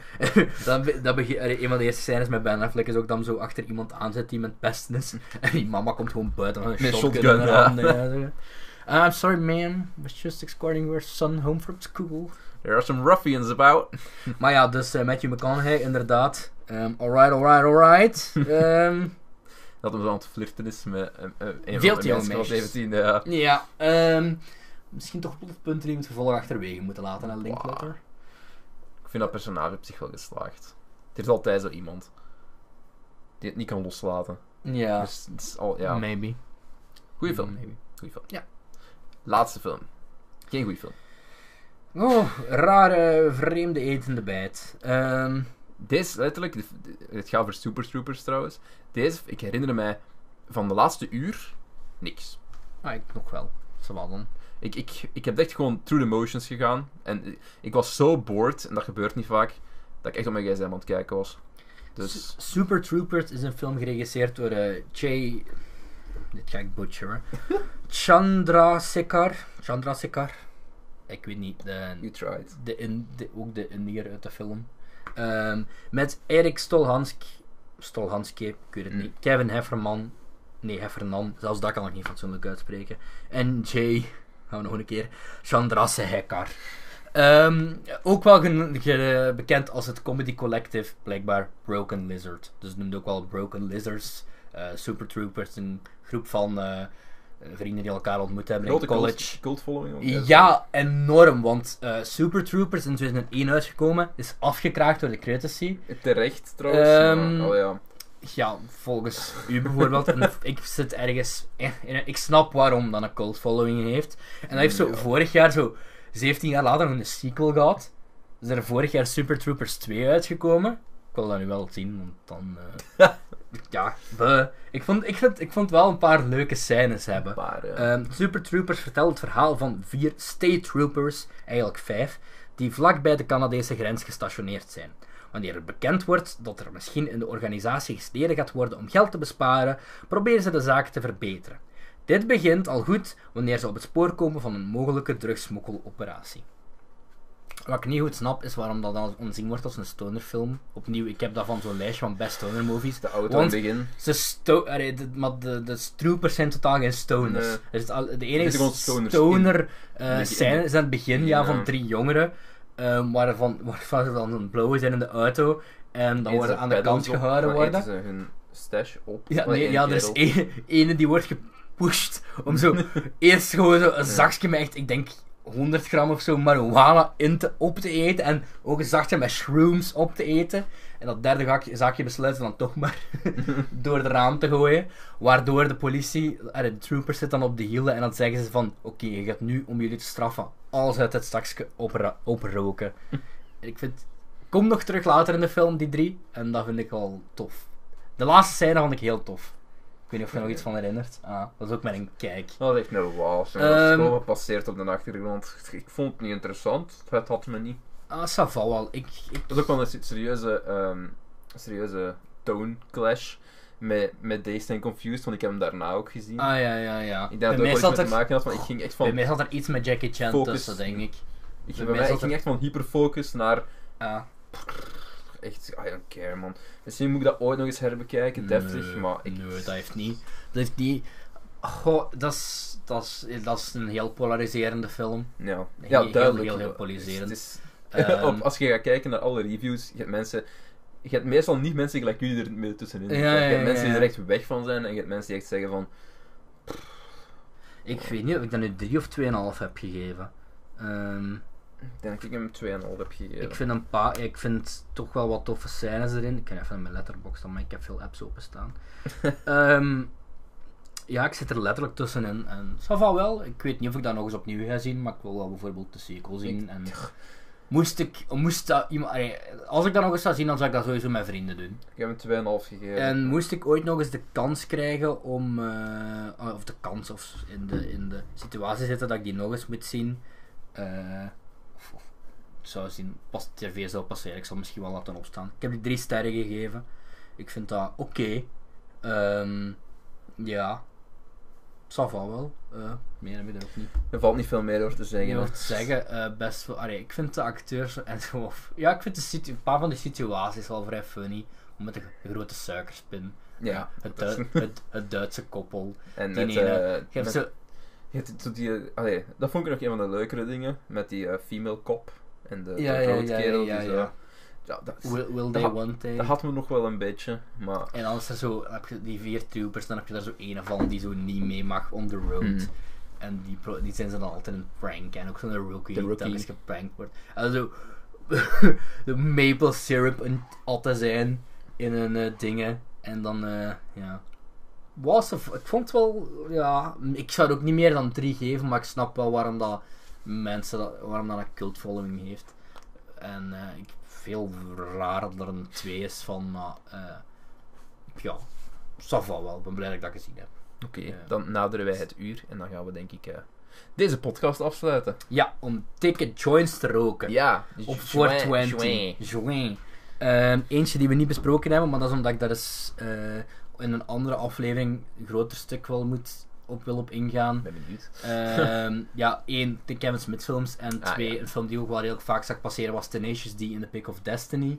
ja. dan be- dat bege- allee, een van de eerste scènes met Ben Affleck is ook dan zo achter iemand aanzet die met pesten is. En die mama komt gewoon buiten met een Met shotgun. shotgun, in haar ja. handen, ja, zo. Uh, I'm sorry man, was just escorting your son home from school. There are some ruffians about. maar ja, dus eh, Matthew McConaughey, inderdaad. Ehm, alright, alright, alright. Ehm, Dat hem zo aan het flirten is met eh, eh, een Veel van te de jong mensen van meisjes. 17. Ja. ja, ehm, misschien toch plotpunten die we het vervolg achterwege moeten laten, hè, Linklater. Ik vind dat personage op zich wel geslaagd. Er is altijd zo iemand die het niet kan loslaten. Ja, Dus, het is al, ja. maybe. Goeie film. Maybe. Goeie film. Ja. Laatste film. Geen goede film. Oh, rare, vreemde etende bijt. Ehm, Deze, letterlijk, de- de- het gaat over Super Troopers trouwens. Deze, ik herinner mij van de laatste uur niks. ah, ik nog wel. Zowel dan. Ik, ik, ik heb echt gewoon through the motions gegaan. En ik- ik was zo bored, en dat gebeurt niet vaak, dat ik echt op mijn gsm aan het kijken was. Dus, Su- Super Troopers is een film geregisseerd door eh Jay... Dit ga ik butcheren. Chandra Sekar. Chandra Sekar. Ik weet niet. De, you tried. de, in, de- ook de Indiër uit de film. Ehm, met Erik Stolhansk... Stolhanske, ik weet het Mm. niet. Kevin Hefferman. Nee, Heffernan. Zelfs dat kan ik niet fatsoenlijk uitspreken. En Jay... Gaan we nog een keer. Chandra Sekar. Ehm, ook wel gen- ge- bekend als het comedy collective, blijkbaar Broken Lizard. Dus noemde ook wel Broken Lizards, eh, Super Troopers, een groep van eh, vrienden die elkaar ontmoet hebben Grote in college. cult, cult following. ook, hè. Ja, enorm, want eh, Super Troopers in 2001 uitgekomen, is afgekraakt door de critici. Terecht trouwens. Ehm, maar- oh ja. Ja, volgens u bijvoorbeeld. En ik zit ergens. eh, in een- ik snap waarom dan een cult following heeft. En dat heeft zo Ja. vorig jaar, zo 17 jaar later, nog een sequel gehad. Is er vorig jaar Super Troopers 2 uitgekomen. Ik wil dat nu wel zien, want dan. eh, ja, buh. ik vond, ik, vind, ik vond wel een paar leuke scènes hebben. Maar, eh, ja. Ehm, Super Troopers vertelt het verhaal van vier state troopers, eigenlijk vijf, die vlak bij de Canadese grens gestationeerd zijn. Wanneer er bekend wordt dat er misschien in de organisatie gesneden gaat worden om geld te besparen, proberen ze de zaak te verbeteren. Dit begint al goed wanneer ze op het spoor komen van een mogelijke drugsmokkeloperatie. Wat ik niet goed snap is waarom dat dan onzien wordt als een stonerfilm. Opnieuw, ik heb dat van zo'n lijstje van best stoner movies. de auto want- in het begin. Ze sto allee, de, maar de, de troopers zijn totaal geen stoners. Nee. Er is al, de zitten enige gewoon stoners stoner eh, begin- scène is aan het begin ja, Ja. van drie jongeren. ehm, waarvan, waarvan ze dan een blauwe zijn in de auto. En dan Eén worden ze aan de pedals kant op, gehouden maar eten worden. ze hun stash op. Ja, Allee, nee, één ja, er is kerel. één- ene die wordt gepusht om zo eerst gewoon zo een zakje met echt, ik denk 100 gram of zo marihuana in te, op te eten. En ook een zakje met shrooms op te eten. En dat derde zakje, zakje besluiten ze dan toch maar door het raam te gooien. Waardoor de politie, eh, de troopers zitten dan op de hielen en dan zeggen ze van oké, je gaat nu om jullie te straffen alles uit het zakje opra- oproken. En ik vind, kom nog terug later in de film, die drie. En dat vind ik wel tof. De laatste scène vond ik heel tof. Ik weet niet of je nog iets van herinnert. Ah, dat is ook met een kijk. Dat is echt een waas. en Ehm. Dat is gewoon gepasseerd op de achtergrond. Ik vond het niet interessant. Het had me niet. Ah, ça va wel. Ik, ik... Dat is ook wel een se- serieuze, ehm, serieuze tone clash met, met Dazed and Confused, want ik heb hem daarna ook gezien. Ah, ja, ja, ja. Ik denk dat bij, het mij ook wel zat iets mee te er, maken had, want ik ging echt bij van... mij zat er iets met Jackie Chan Focus. tussen, denk ik. bij Ik, bij mij mij, zat ik ging er- echt van hyperfocus naar Ah. echt... I don't care, man. Misschien moet ik dat ooit nog eens herbekijken, deftig, Nee, maar ik... Nee, dat heeft niet. Dat heeft niet... Goh, dat is, dat, is, dat is een heel polariserende film. Ja, Nee, ja heel- duidelijk. heel- heel Het is- polariserend. het is- Ehm, op- als je gaat kijken naar alle reviews, je hebt mensen... Je hebt meestal niet mensen gelijk jullie er midden tussenin. Ja, zitten. je ja, hebt ja, mensen die ja. er echt weg van zijn en je hebt mensen die echt zeggen van... Ik weet niet of ik dat nu 3 of 2,5 heb gegeven. Ehm, Ik denk dat ik hem 2,5 heb gegeven. Ik vind een paar, ik vind toch wel wat toffe scènes erin. Ik kan even in mijn letterbox dan, maar ik heb veel apps openstaan. Ehm ja, ik zit er letterlijk tussenin. En ça va wel. Ik weet niet of ik dat nog eens opnieuw ga zien, maar ik wil wel bijvoorbeeld de sequel zien. en moest ik, moest dat iemand, allee, als ik dat nog eens zou zien, dan zou ik dat sowieso met vrienden doen. Ik heb hem 2,5 gegeven. En moest ik ooit nog eens de kans krijgen om, eh, of de kans of in de, in de situatie zitten dat ik die nog eens moet zien, eh, of, of zou zien, pas tv zou passeren, ik zal misschien wel laten opstaan. Ik heb die drie sterren gegeven. Ik vind dat oké. Ehm, ja. zal wel. Eh, meer heb ik er ook niet. Er valt niet veel meer over te zeggen. Je hè. wilt zeggen, eh, best wel. Allee, ik vind de acteurs en gewoon. Ja, ik vind de situ- een paar van de situaties wel vrij funny. Met de g- grote suikerspin. Ja. Het, Du- het, het Duitse koppel. En Die met, ene. eh, Ik heb met- zo. je hebt zo die, eh, allee, dat vond ik nog een van de leukere dingen. Met die eh, female kop. En de, Ja, de ja, eh, grote ja, kerel ja, die zo... ja. Ja, dat, is- Will, will they dat- one day? dat had me nog wel een beetje. Maar En als er zo, dan heb je die vier troopers, dan heb je daar zo een van die zo niet mee mag on the road. Mhm. En die, pro- die zijn ze dan altijd een prank. En ook zo'n rookie, De die rookie. telkens geprankt wordt. En zo de maple syrup en zijn in hun eh, dingen. En dan, eh, ja. Was of, ik vond het wel, ja. Ik zou het ook niet meer dan drie geven, maar ik snap wel waarom dat mensen, dat, waarom dat een cult following heeft. En eh, ik veel raar dat er een 2 is van, maar eh, ja, ça va wel. Ik ben blij dat ik dat gezien heb. oké, Ja. dan naderen wij het uur. En dan gaan we denk ik eh, deze podcast afsluiten. Ja, om dikke joints te roken. Ja. Op Join, 420. join. Join. Ehm, eentje die we niet besproken hebben, maar dat is omdat ik daar eens eh, in een andere aflevering een groter stuk wel moet op wil op ingaan. Ik ben benieuwd. Ehm, ja, één, de Kevin Smith films. En Ah, twee, ja. een film die ik ook wel heel vaak zag passeren was Tenacious D in The Pick of Destiny.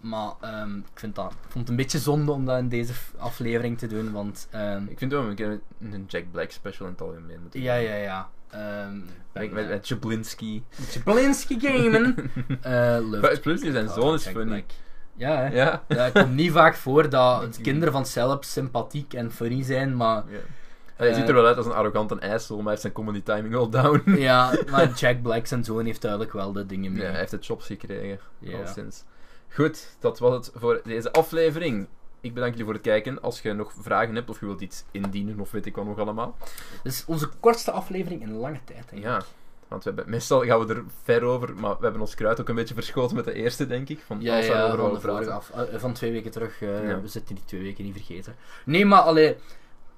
Maar ehm, ik, vind dat, ik vond het een beetje zonde om dat in deze f- aflevering te doen, want... ehm, Ik vind wel een keer een Jack Black special in het algemeen moeten ja, doen. ja, ja. Ehm, ik ben, Met, met, eh, met Jablinski. Blinsky gamen! Eh, love Maar Jablinski zijn Oh, zoon is Jack funny. Black. Ja, hè. Ja. Ja, het komt niet vaak voor dat kinderen van Celebs sympathiek en funny zijn, maar Ja. Hij ziet er wel uit als een arrogante asshole, maar hij heeft zijn comedy timing all down. ja, maar Jack Black zijn zoon heeft duidelijk wel de dingen mee. Ja, hij heeft het chops gekregen. Ja. Al sinds. Goed, dat was het voor deze aflevering. Ik bedank jullie voor het kijken. Als je nog vragen hebt of je wilt iets indienen of weet ik wat nog allemaal. Dus onze kortste aflevering in lange tijd. Hè. Ja, want we hebben, meestal gaan we er ver over, maar we hebben ons kruid ook een beetje verschoten met de eerste, denk ik. Van Ja, alles ja, waarover van, de we willen praten. vorige af, eh, van twee weken terug. eh, Ja. We zitten die twee weken niet vergeten. Nee, maar allee...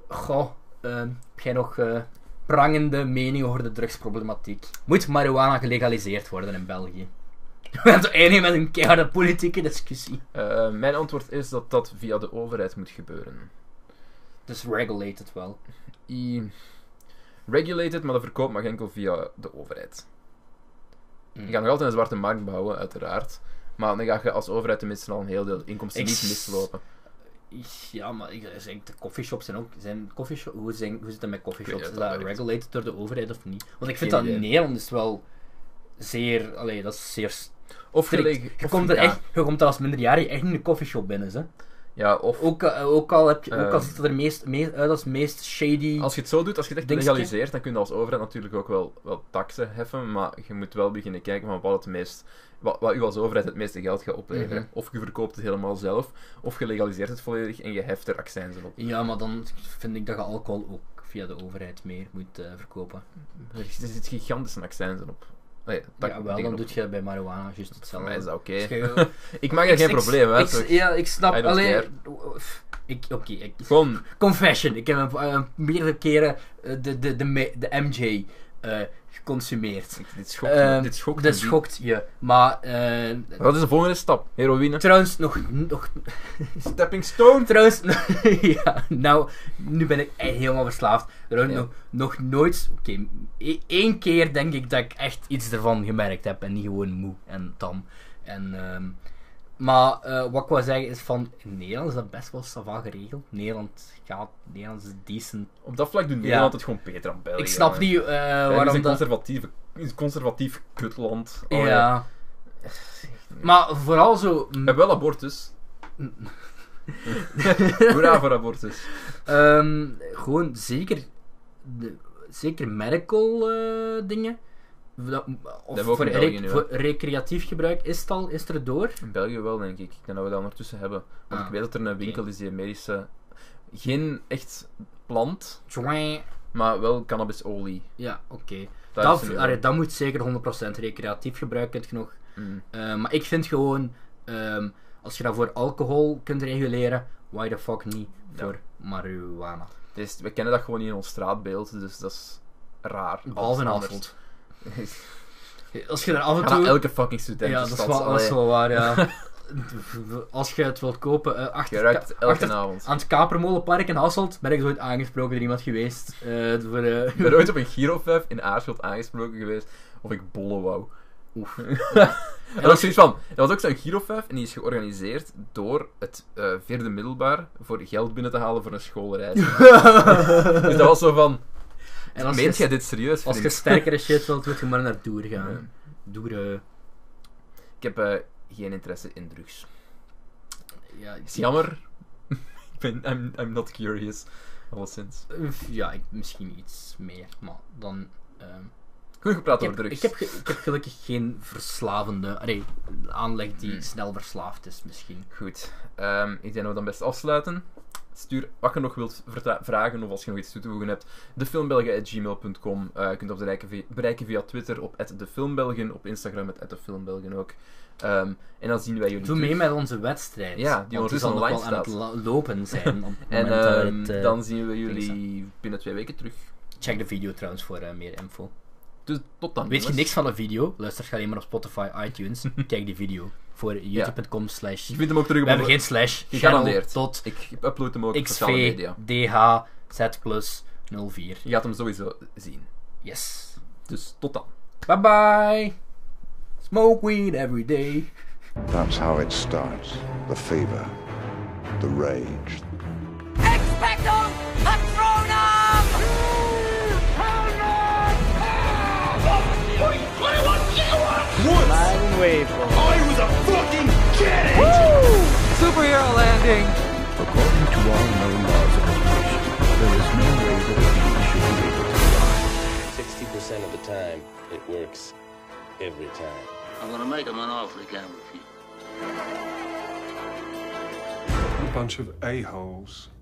Goh, eh, heb jij nog eh, prangende meningen over de drugsproblematiek? Moet marihuana gelegaliseerd worden in België? We gaan zo eindigen met een keiharde politieke discussie. Eh, mijn antwoord is dat dat via de overheid moet gebeuren. Dus regulate het wel. I- Regulated, maar de verkoop mag enkel via de overheid. Je gaat nog altijd een zwarte markt bouwen, uiteraard. Maar dan ga je als overheid tenminste al een heel deel inkomsten Ik niet s- mislopen. Ja, maar ik ik denk, de coffeeshops zijn ook... Zijn coffeeshop, hoe, zijn, hoe zit het met coffeeshops? Ik Is weet niet of dat dat werkt. regulated door de overheid of niet? Want ik vind Geen dat idee. Nederland is wel zeer... Allee, dat is zeer strikt. Of gelijk- Je of- komt, er ja. echt, je komt er als minderjarige echt in de coffeeshop binnen, hè. Ja, of Ook, eh, ook al, heb je, ook al Ehm. ziet het er meest, meest, uit als meest shady... als je het zo doet, als je het echt Dingetje. legaliseert, dan kun je als overheid natuurlijk ook wel, wel taxen heffen. Maar je moet wel beginnen kijken van wat het meest. Wat, wat u als overheid het meeste geld gaat opleveren. Mhm. Of je verkoopt het helemaal zelf, of je legaliseert het volledig en je heft er accijnzen op. Ja, maar dan vind ik dat je alcohol ook via de overheid meer moet eh, verkopen. Er zit gigantische accijnzen op. Nee, tak- ja, wel, dingen dan op. doe je bij marihuana juist Voor hetzelfde. mij is dat oké. Dus je- Ik maak er geen Ik- probleem ik- uit. ik- Ja, ik I snap. don't Alleen. care. Ik, oké, ik, Gewoon, confession. Ik heb een, eh, meerdere keren eh, de, de, de, me- de MJ eh, geconsumeerd. ik- dit schokt, me, Ehm, dit schokt Dat me schokt je. Maar eh, diep. Wat is de volgende stap? Heroïne? trouwens, nog, nog. Stepping stone? Trouwens, ja, nou, nu ben ik echt helemaal verslaafd. Trouwens, Ja. nog, nog nooit. Oké, e- één keer denk ik dat ik echt iets ervan gemerkt heb en niet gewoon moe en tam. En, ehm, maar eh, wat ik wil zeggen is van in Nederland is dat best wel savant geregeld. Nederland gaat, Nederland is decent. Op dat vlak doet Nederland het gewoon beter dan België. ik snap man. niet eh, België is waarom een dat. conservatieve, een conservatief kutland. Oh, Ja. Maar vooral zo. We hebben wel abortus. Hoera voor abortus. Ehm, gewoon zeker, de, zeker medical eh, dingen. Dat- of hebben we ook voor, in rec- België nu, hè? voor recreatief gebruik is het al, is het er door. In België wel, denk ik. Ik denk dat we dat ondertussen hebben. Want Ah. ik weet dat er een winkel is die medische... Geen echt plant, Tjoing. maar wel cannabisolie. Ja, oké. Daar Dat, is er nu allee, wel. dat moet zeker 100% recreatief gebruik kunt je nog. Mm. Eh, maar ik vind gewoon, ehm, als je dat voor alcohol kunt reguleren, why the fuck niet voor marihuana? Het is- we kennen dat gewoon niet in ons straatbeeld, dus dat is raar. Behalve in Anders. Hasselt. Ga Als je er af en naar toe... elke fucking student Ja, in dat is, stad, wel, dat is dus allee. wel waar, ja. als je het wilt kopen, eh, achter, het Je ka- ruikt het elke achter- avond. aan het Kapermolenpark in Hasselt ben ik ooit aangesproken door iemand geweest. eh, voor, eh, Ik ben ooit op een Girovev in Aarschot aangesproken geweest of ik bollen wou. Oef. En dat was zoiets van, dat was ook zo'n Girovev en die is georganiseerd door het eh, vierde middelbaar voor geld binnen te halen voor een schoolreis. dus dat was zo van, en als meent je, jij dit serieus als je vriend? sterkere shit wilt, moet je maar naar Doer gaan. Ja. Doer, eh, Ik heb eh, geen interesse in drugs. ja, ik- Is jammer. ik ben, I'm, I'm not curious. Alleszins. Uf, Ja, ik, misschien iets meer, maar dan... ehm, Goed gepraat ik, heb, over drugs. ik, heb ge- ik heb gelukkig geen verslavende... Allee, aanleg die Hmm. snel verslaafd is, misschien. Goed. Ehm, ik denk dat we dan best afsluiten. Stuur wat je nog wilt verta- vragen of als je nog iets toe te voegen hebt. Defilmbelgen.gmail.com Eh, Je kunt ons bereiken via, bereiken via Twitter op defilmbelgen. Op Instagram met defilmbelgen ook. Ehm, en dan zien wij jullie Doe terug. mee met onze wedstrijd. Ja, die want ondertussen zal nog wel online aan het la- lopen zijn. Op het En moment dat we ehm, het, eh, dan zien we jullie ding binnen twee weken terug. Check de video trouwens voor eh, meer info. Dus tot dan. Weet je jongens. niks van een video? Luister alleen maar op Spotify, iTunes. Kijk die video. Voor youtube.com slash... Je vindt hem ook terug We op hebben onze- geen slash. Gegarandeerd. Channel Tot Ik upload hem ook op sociale xv media. dh z plus 04. Je gaat hem sowieso zien. Yes. Dus tot dan. Bye bye. Smoke weed every day. That's how it starts. The fever, the rage, Expecto Patronum! According to all known laws of evolution, there is no way that a bee should be able to fly. 60% of the time, it works every time. I'm gonna make him an offer he can't refuse. bunch of a-holes.